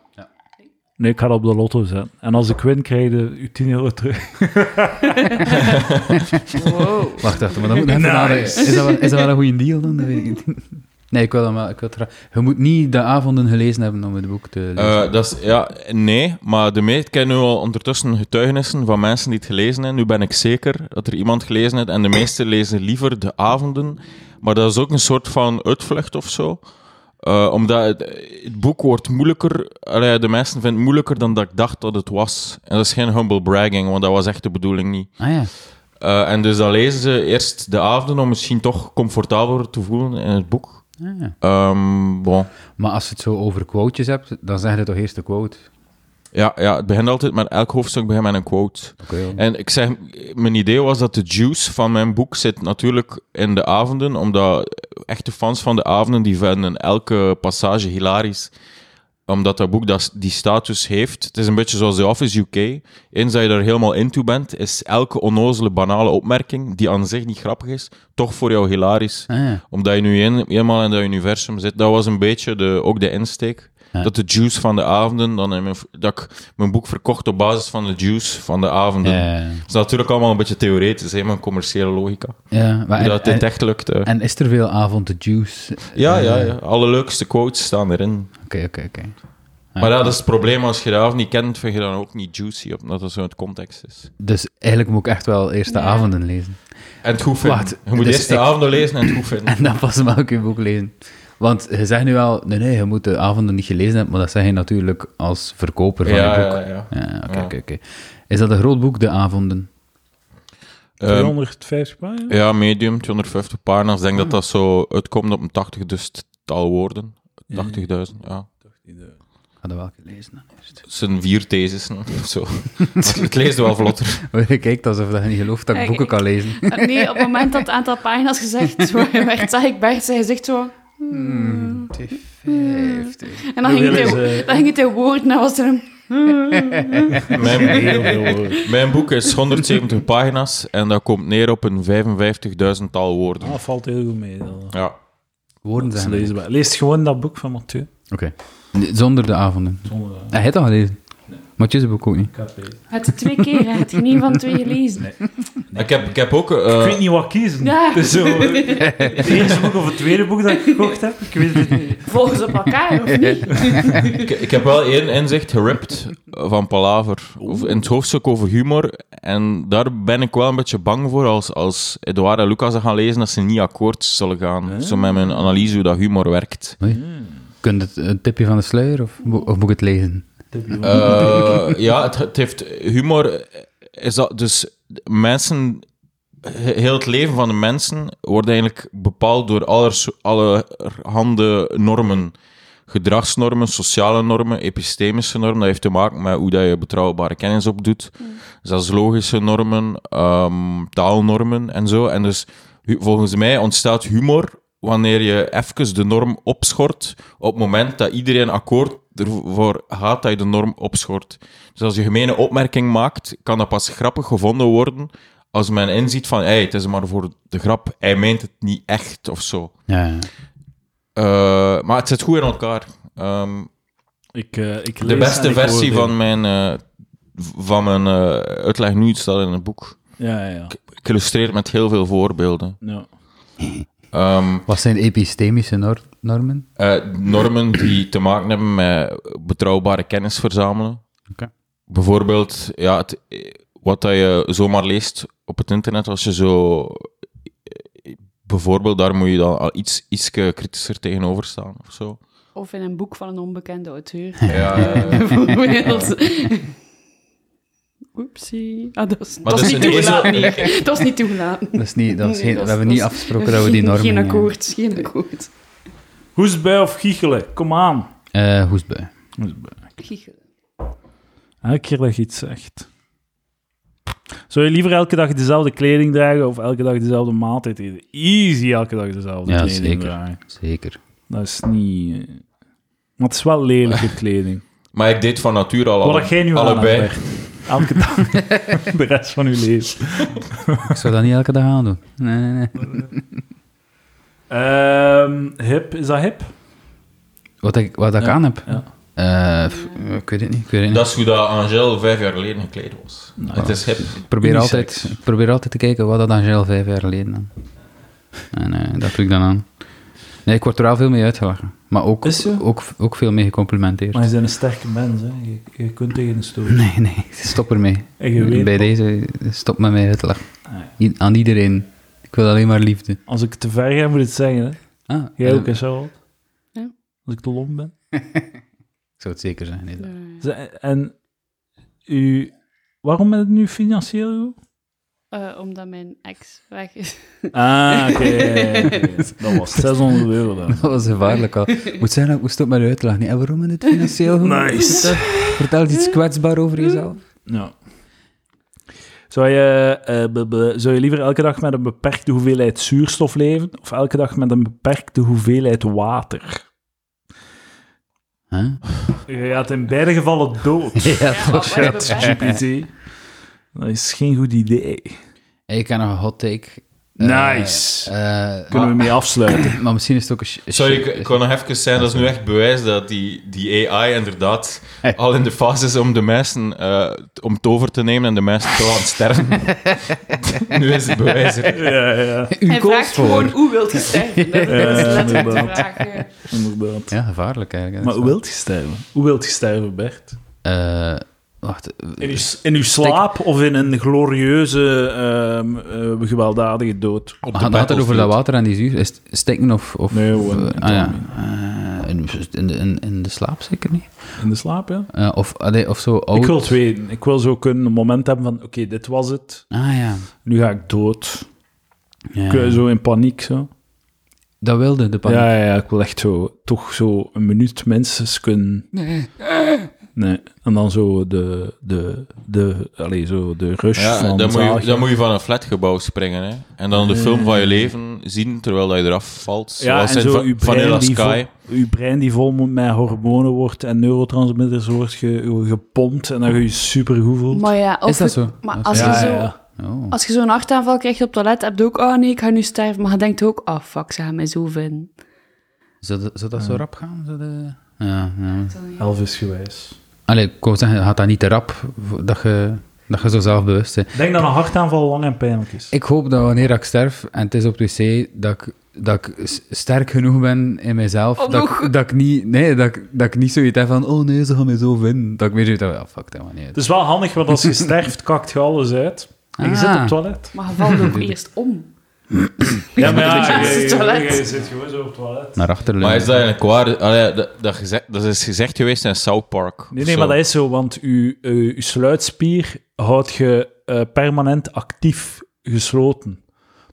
Nee, ik ga dat op de lotto zetten. En als ik win, krijg je uw 10 euro
Ehm,
terug.
Wow.
Wacht even, maar dan moet ik even
Nice.
nadenken. Is dat wel, is dat wel een goede deal dan? Dat weet ik niet. Nee, ik wil dat wel. Ik wil het graag- Je moet niet de avonden gelezen hebben om het boek te lezen.
Eh, dat is, ja, nee, maar de meest, ik ken nu al ondertussen getuigenissen van mensen die het gelezen hebben. Nu ben ik zeker dat er iemand gelezen heeft. En de meesten lezen liever de avonden. Maar dat is ook een soort van uitvlucht of zo. Eh, omdat het, het boek wordt moeilijker. allee, de mensen vinden het moeilijker dan dat ik dacht dat het was. En dat is geen humble bragging, want dat was echt de bedoeling niet.
Ah ja.
Eh, en dus dan lezen ze eerst de avonden om misschien toch comfortabeler te voelen in het boek.
Ah, ja.
Ehm, bon.
Maar als je het zo over quotejes hebt, dan zeg je toch eerst de quote.
Ja, ja, het begint altijd met elk hoofdstuk begint met een quote.
Oké. joh.
En ik zeg, mijn idee was dat de juice van mijn boek zit natuurlijk in de avonden, omdat echte fans van de avonden die vinden elke passage hilarisch, omdat dat boek dat, die status heeft. Het is een beetje zoals The Office UK. Eens dat je er helemaal into bent, is elke onnozele, banale opmerking, die aan zich niet grappig is, toch voor jou hilarisch.
Ah, ja.
Omdat je nu een- eenmaal in dat universum zit. Dat was een beetje de, ook de insteek.
Ja.
Dat de juice van de avonden, dan in mijn, dat ik mijn boek verkocht op basis van de juice van de avonden.
Ja.
Het is natuurlijk allemaal een beetje theoretisch, helemaal een commerciële logica.
ja maar
Hoe
en,
dat dit
en,
echt lukt. eh.
en is er veel avond de juice?
ja, ja,
Eh,
ja, alle leukste quotes staan erin.
Oké, oké, oké.
Maar ja, dat is het probleem. Als je de avond niet kent, vind je dan ook niet juicy, omdat dat zo het context is.
Dus eigenlijk moet ik echt wel eerst de avonden lezen.
En het goed vinden.
Wacht,
je moet
dus
eerst de
ik-
avonden lezen en het goed vinden.
En dan pas mag ik je boek lezen. Want je zegt nu wel, nee, nee, je moet de avonden niet gelezen hebben, maar dat zeg je natuurlijk als verkoper van
Ja,
je boek.
ja, ja.
Ja, oké,
Ja.
oké, oké. Is dat een groot boek, De Avonden?
Ehm,
250 pagina's?
Ja, medium, 250 pagina's. Ik denk dat dat zo uitkomt op een 80 dus tal woorden. 80.000, ja.
Ik ga dat wel een keer lezen dan eerst.
Het zijn vier thesissen of zo. Als je het leest, wel vlotter.
Maar je kijkt alsof dat je niet gelooft dat ik
Kijk,
boeken kan
ik-
lezen.
Eh, Nee, op het moment dat het aantal pagina's gezegd werd, zag ik Bert, zij zegt zo...
Hmm, 50.
En dan ging,
Hoeveel
het
is,
in,
eh,
dan ging het in woorden en was er een...
Mijn,
Heel veel woorden.
mijn boek is 170 pagina's en dat komt neer op een 55.000 tal woorden.
Ah, valt heel goed mee. Dat
Ja.
Woorden
is
zijn er.
leesbaar. Lees gewoon dat boek van Mathieu.
Oké. Nee, Zonder De Avonden.
Zonder, eh,
Hij heeft al gelezen. Maar het is het boek ook niet.
ik heb lezen.
Het is twee keer, hè. het ging niet van twee gelezen.
Ik, heb, ik heb ook...
Ik
eh,
weet niet wat kiezen.
Ja.
Het is zo, eh, het eerste boek of het tweede boek dat ik gekocht heb, ik weet het niet.
Volgens op elkaar, of niet?
ik, ik heb wel één inzicht geript eh, van Palaver. Of In het hoofdstuk over humor. En daar ben ik wel een beetje bang voor als, als Edouard en Lucas dat gaan lezen, dat ze niet akkoord zullen gaan. Zo met mijn analyse hoe dat humor werkt.
Kunt het een tipje van de sluier of, mo- of moet ik het lezen?
Eh, ja, het, het heeft humor. eh, Is dat dus mensen. he- Heel het leven van de mensen wordt eigenlijk bepaald door allers- allerhande normen. Gedragsnormen, sociale normen, epistemische normen. Dat heeft te maken met hoe dat je betrouwbare kennis opdoet. Dus dat is logische normen, ehm, taalnormen en zo. En dus hu- volgens mij ontstaat humor wanneer je even de norm opschort op het moment dat iedereen akkoord ervoor gaat dat je de norm opschort. Dus als je gemene opmerking maakt, kan dat pas grappig gevonden worden als men inziet van, hey, het is maar voor de grap, hij meent het niet echt of zo.
Ja, ja.
Eh, maar het zit goed in elkaar. Ehm,
Ik, eh, ik
de
lees en
beste
ik
versie
oordeel.
van mijn, eh, v- van mijn eh, uitleg nu staat in het boek.
Ja, ja, ja.
Ik illustreer het met heel veel voorbeelden.
ja.
Ehm,
Wat zijn epistemische nor- normen?
Eh, normen die te maken hebben met betrouwbare kennis verzamelen.
Oké.
Bijvoorbeeld, ja, het, eh, wat dat je zomaar leest op het internet, als je zo. eh, Bijvoorbeeld, daar moet je dan al iets ietske kritischer tegenover staan of zo.
Of in een boek van een onbekende auteur.
Ja, eh,
Bijvoorbeeld. Oepsie. Ah, dat was, dat was
dus
niet
in deze-
toegelaten. nee. Dat is niet toegelaten.
Dat is niet, dat is
Nee,
geen, we
dat is-
hebben
dat
niet
is-
afgesproken dat we die
Geen-
normen... eh,
Geen akkoord, geen akkoord.
Hoestbui of giechelen? Kom aan.
Eh, hoestbui.
Elke keer dat je iets zegt. Zou je liever elke dag dezelfde kleding dragen of elke dag dezelfde maaltijd eten? Easy elke dag dezelfde
Ja,
kleding
zeker.
dragen.
Zeker.
Dat is niet... eh, Maar het is wel lelijke kleding.
Maar ik deed van nature al alle-
Wat jij nu aan hebt,
allebei.
Bert. Elke dag. de rest van je leven.
Ik zou dat niet elke dag aandoen. Nee, nee, nee.
Ehm, hip, is dat hip?
Wat ik, wat ik
Ja,
aan heb?
ja.
Eh, pff, ik weet het niet. Ik weet het niet.
Dat is hoe dat Angel vijf jaar geleden gekleed was. het is hip.
Ik probeer,
unisex.
altijd, ik probeer altijd te kijken wat dat Angel vijf jaar geleden aan. En eh, dat doe ik dan aan. Nee, ik word er al veel mee uitgelachen. Maar ook,
Is zo?
ook, ook veel mee gecomplimenteerd.
Maar je bent een sterke mens, hè. Je, je kunt tegen een stoot.
Nee, nee, stop ermee.
En je weet
Bij
dat-
deze, stop met mij uit te lachen.
Ah,
I- Aan iedereen. Ik wil alleen maar liefde.
Als ik te ver ga, moet je het zeggen, hè.
Ah,
Jij
eh,
ook, hè, Charlotte?
Ja.
Als ik te lomp ben.
Ik zou het zeker zijn. Nee, dat-
Eh,
Z- En u... Waarom ben het nu financieel goed?
eh, omdat mijn ex weg is.
Ah, oké. ja, ja, ja, ja. Dat was 600 euro dan.
Dat was gevaarlijk al. Moet zijn, ik moest stop met uit te lachen. Nee, En waarom in het financieel? goed?
Nice.
Vertel eens iets kwetsbaar over jezelf.
Ja. Zou je, eh, be- be- zou je liever elke dag met een beperkte hoeveelheid zuurstof leven of elke dag met een beperkte hoeveelheid water?
Huh?
Je gaat in beide gevallen dood.
Ja,
Ja, wat- wat hebben we beperkt?
GPT. Dat is geen goed idee.
Ik heb nog een hot take. Eh,
Nice.
eh,
Kunnen we mee afsluiten?
maar, maar misschien is Ah, het ook een... sh-
Sorry,
shit-
ik, ik wou nog even zijn, dat is nu echt bewijs dat die, die AI inderdaad al in de fase is om de mensen eh, t- om het over te nemen en de mensen te laten sterven. nu is het bewijs er.
ja, ja,
U
Hij
koos
vraagt
voor.
gewoon hoe wilt je sterven. Dat is
Ja,
letterlijk de
inderdaad.
vraag. eh.
inderdaad.
Ja, gevaarlijk eigenlijk.
Maar
hè.
hoe wilt je sterven? Hoe wilt je sterven, Bert?
Eh, wacht.
In uw, in uw slaap of in een glorieuze, ehm, eh, gewelddadige dood?
Op
We
de
hadden het over
battlefield.
dat water en die zuur. Is het stikken of... of
Nee, gewoon
of, eh, ah, ja. Eh, in, in, de- in, in de slaap zeker niet.
In de slaap, ja?
Eh, of, allee, of zo oud.
Ik wil het weten. Ik wil zo kunnen een moment hebben van, oké, dit was het.
Ah ja.
Nu ga ik dood.
ja.
Ik wil zo in paniek, zo.
Dat wilde de pan.
Ja, ja, ja, ik wil echt zo, toch zo een minuut minstens kunnen... Nee. En dan zo de, de, de, allee, zo de rush
Ja,
van...
dan moet, je,
zagen.
dan moet je van een flatgebouw springen hè. en dan de film van je leven zien terwijl dat je eraf valt.
Eh. ja,
Zoals
en
in
zo
Va-
uw
Vanilla
brein, die
Sky.
vol, uw brein die vol met hormonen wordt en neurotransmitters wordt ge- gepompt en dan ga je je supergoed voelt.
Maar ja, of
Is dat
je-
zo?
Maar
Dat
als
is-
je
ja,
zo...
ja, ja.
Oh.
Als je zo'n hartaanval krijgt op het toilet, heb je ook, oh nee, ik ga nu sterven. Maar je denkt ook, ah fuck, ze gaan mij zo vinden.
Zou dat, zou dat zo rap gaan? Zou dat- Ja, ja.
Elvis gewijs.
Allee, ik wou zeggen, gaat dat niet te rap, vo- dat je, dat je zo zelfbewust bent.
Ik denk dat een hartaanval lang en pijnlijk is.
Ik hoop dat wanneer ik sterf, en het is op het wc, dat ik, dat ik s- sterk genoeg ben in mezelf,
Om
dat,
nog-
ik, dat, ik niet, nee, dat, ik, dat ik niet zoiets heb van, oh nee, ze gaan mij zo vinden. Dat ik meer zoiets heb van, ja, fuck dat maar niet uit.
Het is wel handig, want als je sterft, kakt je alles uit. En je
Ah.
zit op het toilet.
Maar je valt ook eerst om.
Ja, maar
ja, je- je- je- je- je
zit gewoon zo op het toilet.
Naar achteren
Maar is dat
leunen.
eigenlijk waar? Allee, dat, dat, gezegd, dat is gezegd geweest in South Park.
Nee, nee,
of zo.
maar dat is zo, want je sluitspier houdt je eh, permanent actief gesloten.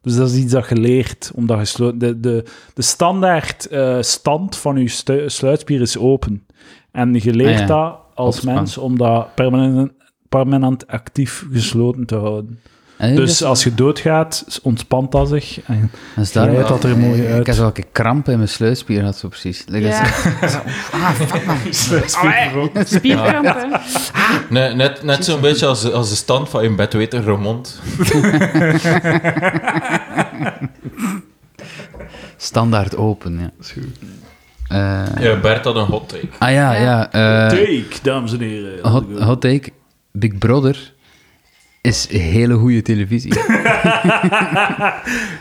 Dus dat is iets dat je leert, omdat je slo- de, de, de standaard eh, stand van je stu- sluitspier is open. En je leert
Ah, ja.
dat als
Opspan.
mens om dat permanent, permanent actief gesloten te houden.
En
Dus als je doodgaat, ontspant dat zich. En
dat is daarom-
glijdt dat er mooi
dus Eh,
uit.
Ik heb welke kramp in mijn sluitspier had, zo precies. Like, dat is- Ah, fuck man.
Spierkrampen.
Net, net, net zo'n beetje als, als de stand van in bed weten, Ramond.
Standaard open, ja. Eh,
Ja, Bert had een hot take.
ah ja, ja. eh,
Take, dames en heren.
hot, hot take, Big Brother is hele goede televisie.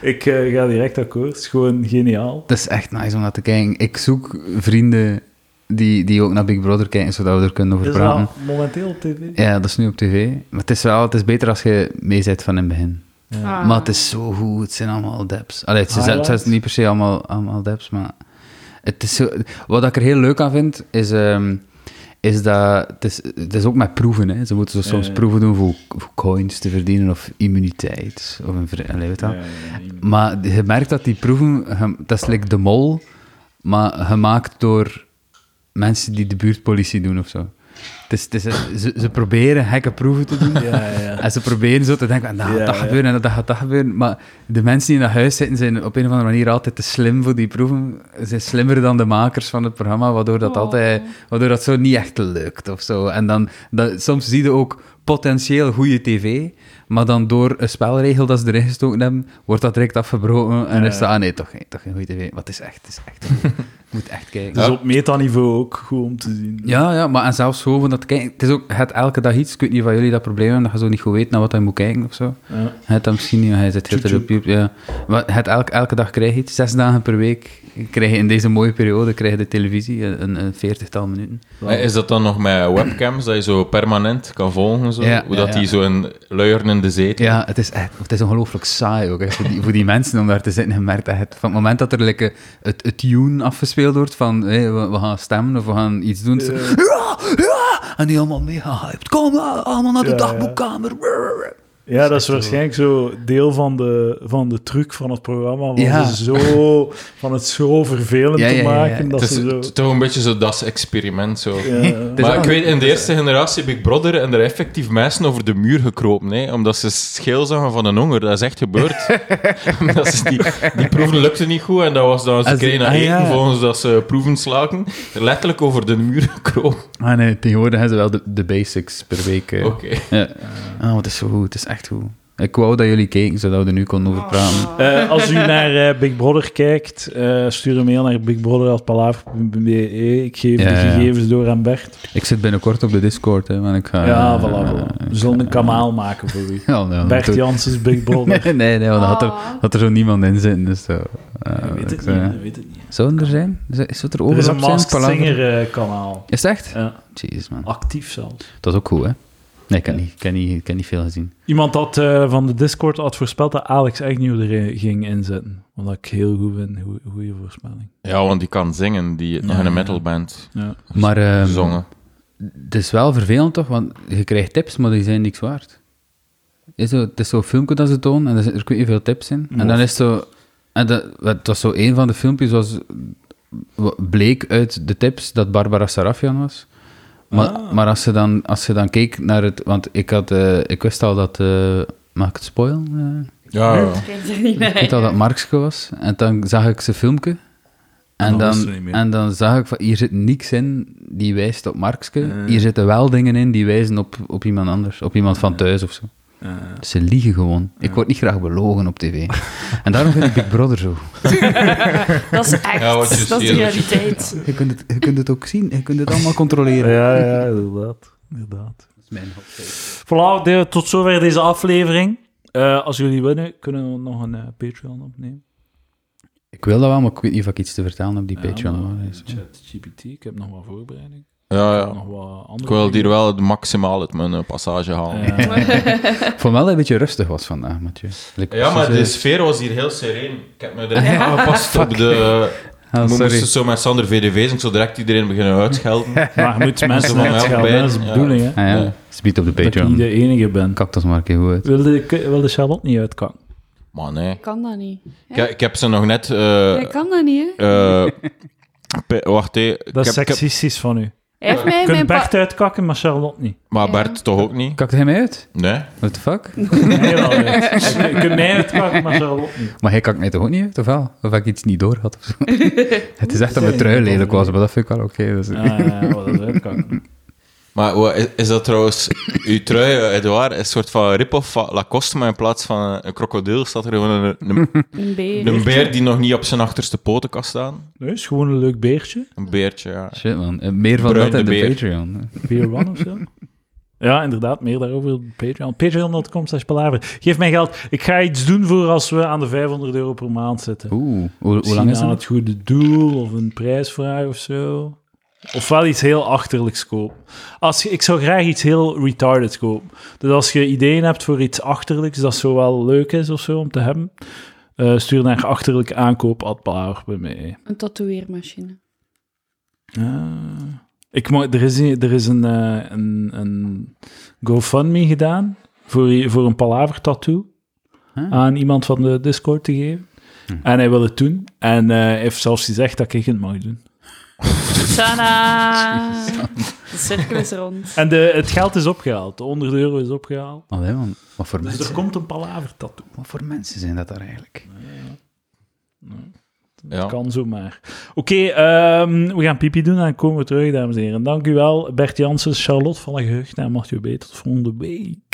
Ik eh, ga direct akkoord. Het is gewoon geniaal.
Dat is echt nice om naar te kijken. Ik zoek vrienden die, die ook naar Big Brother kijken, zodat we er kunnen over
Is
praten.
dat momenteel op tv?
Ja, dat is nu op tv. Maar het is wel het is beter als je mee zit van in het begin.
Ah.
Maar het is zo goed. Het zijn allemaal deps. Allee, het zijn- het zijn
Highlights?
niet per se allemaal, allemaal deps, maar... Het is zo, wat ik er heel leuk aan vind, is, ehm, is dat... Het is, het is ook met proeven, hè. Ze moeten zo soms
ja.
proeven doen voor, voor coins te verdienen of immuniteit. Of een... vri- Allee, weet je wel. Maar je merkt dat die proeven, ge- dat is like de mol, maar gemaakt door mensen die de buurtpolitie doen of zo. Het is, het is, ze, ze proberen gekke proeven te doen.
Ja, ja.
En ze proberen zo te denken, nou, dat
Ja,
gaat dat
ja.
gebeuren en dat gaat dat gebeuren. Maar de mensen die in dat huis zitten, zijn op een of andere manier altijd te slim voor die proeven. Ze zijn slimmer dan de makers van het programma, waardoor dat,
Oh.
altijd, waardoor dat zo niet echt lukt of zo. En dan, dat, soms zie je ook potentieel goede tv, maar dan door een spelregel dat ze erin gestoken hebben, wordt dat direct afgebroken en is dat, ah nee, toch, geen- toch geen goede tv. Maar het is echt, het is echt goed. Je moet echt kijken.
Dus op metaniveau ook goed om te zien.
Ja, ja, maar en zelfs gewoon van dat kijken. Het is ook, het elke dag iets. Ik weet niet van jullie dat probleem hebben, dat je zo niet goed weet naar wat hij moet kijken of zo.
Ja.
Het dan misschien, ja, hij zit heel tijd op YouTube. Ja. Maar het elk, elke dag krijg je iets. Zes dagen per week krijg je in deze mooie periode krijg je de televisie eh, een, een veertigtal minuten.
Eh, Is dat dan nog met webcams, dat je zo permanent kan volgen? Zo?
Ja,
Hoe dat
ja,
die
ja.
zo een luierende zetel...
Ja, het is, echt, het is ongelooflijk saai ook. hè, Voor die, voor die mensen om daar te zitten, je merkt dat het, van het moment dat er like, het, het tune afgespeeld wordt van hé, we, we gaan stemmen of we gaan iets doen. zo, ja, ja, en die allemaal mega hyped. Kom allemaal naar de
Ja, ja.
dagboekkamer.
Ja, dat is waarschijnlijk zo deel van de, van de truc van het programma. Van,
Ja.
ze zo, van het zo vervelend
Ja, ja,
te
ja, ja.
maken dat
Het is
ze zo...
t- toch een beetje zo dat experiment. Zo.
Ja.
is
Maar
wel-
ik weet, in de eerste generatie Big Brother en er effectief mensen over de muur gekropen, hè, omdat ze scheel zagen van een honger. Dat is echt gebeurd. Omdat ze die, die proeven lukte niet goed en dat was dan, ze
Als die-
kregen dat
ah,
eten
ja.
volgens dat ze proeven slaken. Letterlijk over de muur gekropen.
Ah nee, tegenwoordig hebben ze wel de, de basics per week. eh.
Oh.
Oké.
Ja. Ah, wat is zo goed. Het is echt goed. Ik wou dat jullie keken, zodat we er nu konden over praten.
Eh, als u naar eh, Big Brother kijkt, eh, stuur een mail naar bigbrotheratpalaver.be. Ik geef
Ja,
de
ja.
gegevens door aan Bert.
Ik zit binnenkort op de Discord, hè, want ik ga...
ja, voilà.
eh,
voilà. We zullen een kanaal maken voor u.
ja, nou,
Bert
dat-
Janssens Big Brother.
Nee, nee, nee, want dan had er,
Oh,
had er zo niemand in zitten, dus... zo, eh,
Ik weet
ik
het
zei-
niet, ik weet het niet.
Zou er zijn? Is is het er
Er is
overal
een Masked Singer eh, kanaal.
Is het echt?
Ja,
Jezus, man.
actief zelfs.
Dat is ook goed, hè? Nee, ik heb niet, ik heb niet, ik heb niet veel gezien.
Iemand had eh, van de Discord had voorspeld dat Alex Agnew erin ging inzetten. Omdat ik heel goed ben. Goede voorspelling.
Ja, want die kan zingen, die nog in een metalband
Ja.
Maar ehm,
zongen.
het is wel vervelend, toch? Want je krijgt tips, maar die zijn niks waard. Is zo, het is zo'n filmpje dat ze tonen, en er zitten er kun je veel tips in. En dan is het zo... En dat, het was zo een van de filmpjes, was, bleek uit de tips dat Barbara Sarafian was. Maar, maar als, je dan, als je dan keek naar het... Want ik, had, eh, ik wist al dat... eh, mag ik het spoilen? Eh,
Ja, ja.
Kijk er niet
ik weet al dat Markske was. En dan zag ik zijn filmpje. En
Dan wist
dan,
ze niet meer.
en dan zag ik van, hier zit niks in die wijst op Markske. Hier zitten wel dingen in die wijzen op, op iemand anders. Op iemand van thuis of zo. Dus Ze liegen gewoon. Ik word niet graag belogen op tv. en daarom vind ik Big Brother zo.
Dat is echt.
Ja, wat je
dat is de
ziet.
realiteit.
Je kunt, het, je kunt het ook zien. Je kunt het allemaal controleren.
Ja, ja, inderdaad. inderdaad.
Dat is mijn hot take.
Voilà, de- tot zover deze aflevering. Eh, als jullie willen, kunnen we nog een eh, Patreon opnemen.
Ik wil dat wel, maar ik weet niet of ik iets te vertellen op die Patreon.
Ja,
hoor.
maar,
Dus-
eh, ChatGPT, ik heb nog wat voorbereiding.
ja,
Ik heb
ja.
Nog wat andere
Ik wil
dingen.
hier wel het maximaal uit mijn eh, passage halen.
Eh,
Ik vond wel dat het een beetje rustig was vandaag, Mathieu. Like,
Ja, maar
precies,
de
eh,
sfeer was hier heel sereen. Ik heb me direct aangepast op de...
ah,
we
sorry.
moesten zo met Sander VDV's en zo direct iedereen beginnen uitschelden.
maar je moet mensen
Ja,
van uitschelden, hè, dat is de
ja.
bedoeling. Hè?
Ah, ja. Speed op de
Dat ik niet
Patreon.
de enige ben.
Cactus Mark, hoe het.
Wilde, wilde Charlotte niet uitkakken?
Maar nee.
Ik kan dat niet.
Ik, ik heb ze nog net... eh,
Ik kan dat niet, hè?
eh, pe- wacht, hé. Ik
Dat is
heb- ik heb-
seksistisch van u.
Hij heeft
Je
mij mijn
kunt
pa-
Bert uitkakken, maar Charlotte niet.
Maar
Ja.
Bert toch ook niet?
Kakte hij mij uit?
Nee.
What the fuck?
Nee, wel niet. Je kunt mij uitkakken, maar Charlotte niet.
Maar hij kakt mij toch ook niet uit, of wel? Of ik iets niet door had of zo. het is echt dat mijn trui lelijk was, maar dat vind ik wel oké. dus-
Ah, Ja, ja, ja, wel, dat is uitkakken.
Maar wa- is, is dat trouwens... Uw trui, eh, Edouard, is een soort van rip-off van Lacoste, maar in plaats van eh, een krokodil staat er gewoon een, een,
Een beer.
een beer die nog niet op zijn achterste poten kan staan.
Nee, is gewoon een leuk beertje.
Een beertje, ja.
Shit man, Eh, meer van
Bruin
dat in
de
de
beer.
Patreon.
Beer One of zo. Ja, inderdaad, meer daarover op Patreon. Patreon.com slash palaver. Geef mij geld. Ik ga iets doen voor als we aan de 500 euro per maand zitten.
Oeh, hoe, hoe lang
Misschien
is
aan
het?
het goede doel of een prijsvraag of zo. Of wel iets heel achterlijks kopen. Als je, ik zou graag iets heel retarded kopen. Dus als je ideeën hebt voor iets achterlijks dat zo wel leuk is of zo om te hebben, eh, stuur naar achterlijk aankoop bij mij.
Een tatoeëermachine.
Ah. ik mo- er is, een- er is een, eh, een, een GoFundMe gedaan voor, i- voor een palaver tattoo
Huh? Hm.
aan iemand van de Discord te geven. En hij wil het doen. En eh, hij heeft zelfs gezegd dat ik het mag doen.
Tada! cirkel is rond.
En de, het geld is opgehaald. De 100 euro is opgehaald.
Allee, man. Wat voor,
Dus
mensen,
er komt een palaver tattoo.
wat voor mensen zijn dat daar eigenlijk?
Dat
Ja.
kan zomaar. Oké, ehm, we gaan pipi doen en dan komen we terug, dames en heren. Dank u wel, Bert Jansen, Charlotte van der Geugd en Mathieu B. Tot volgende week.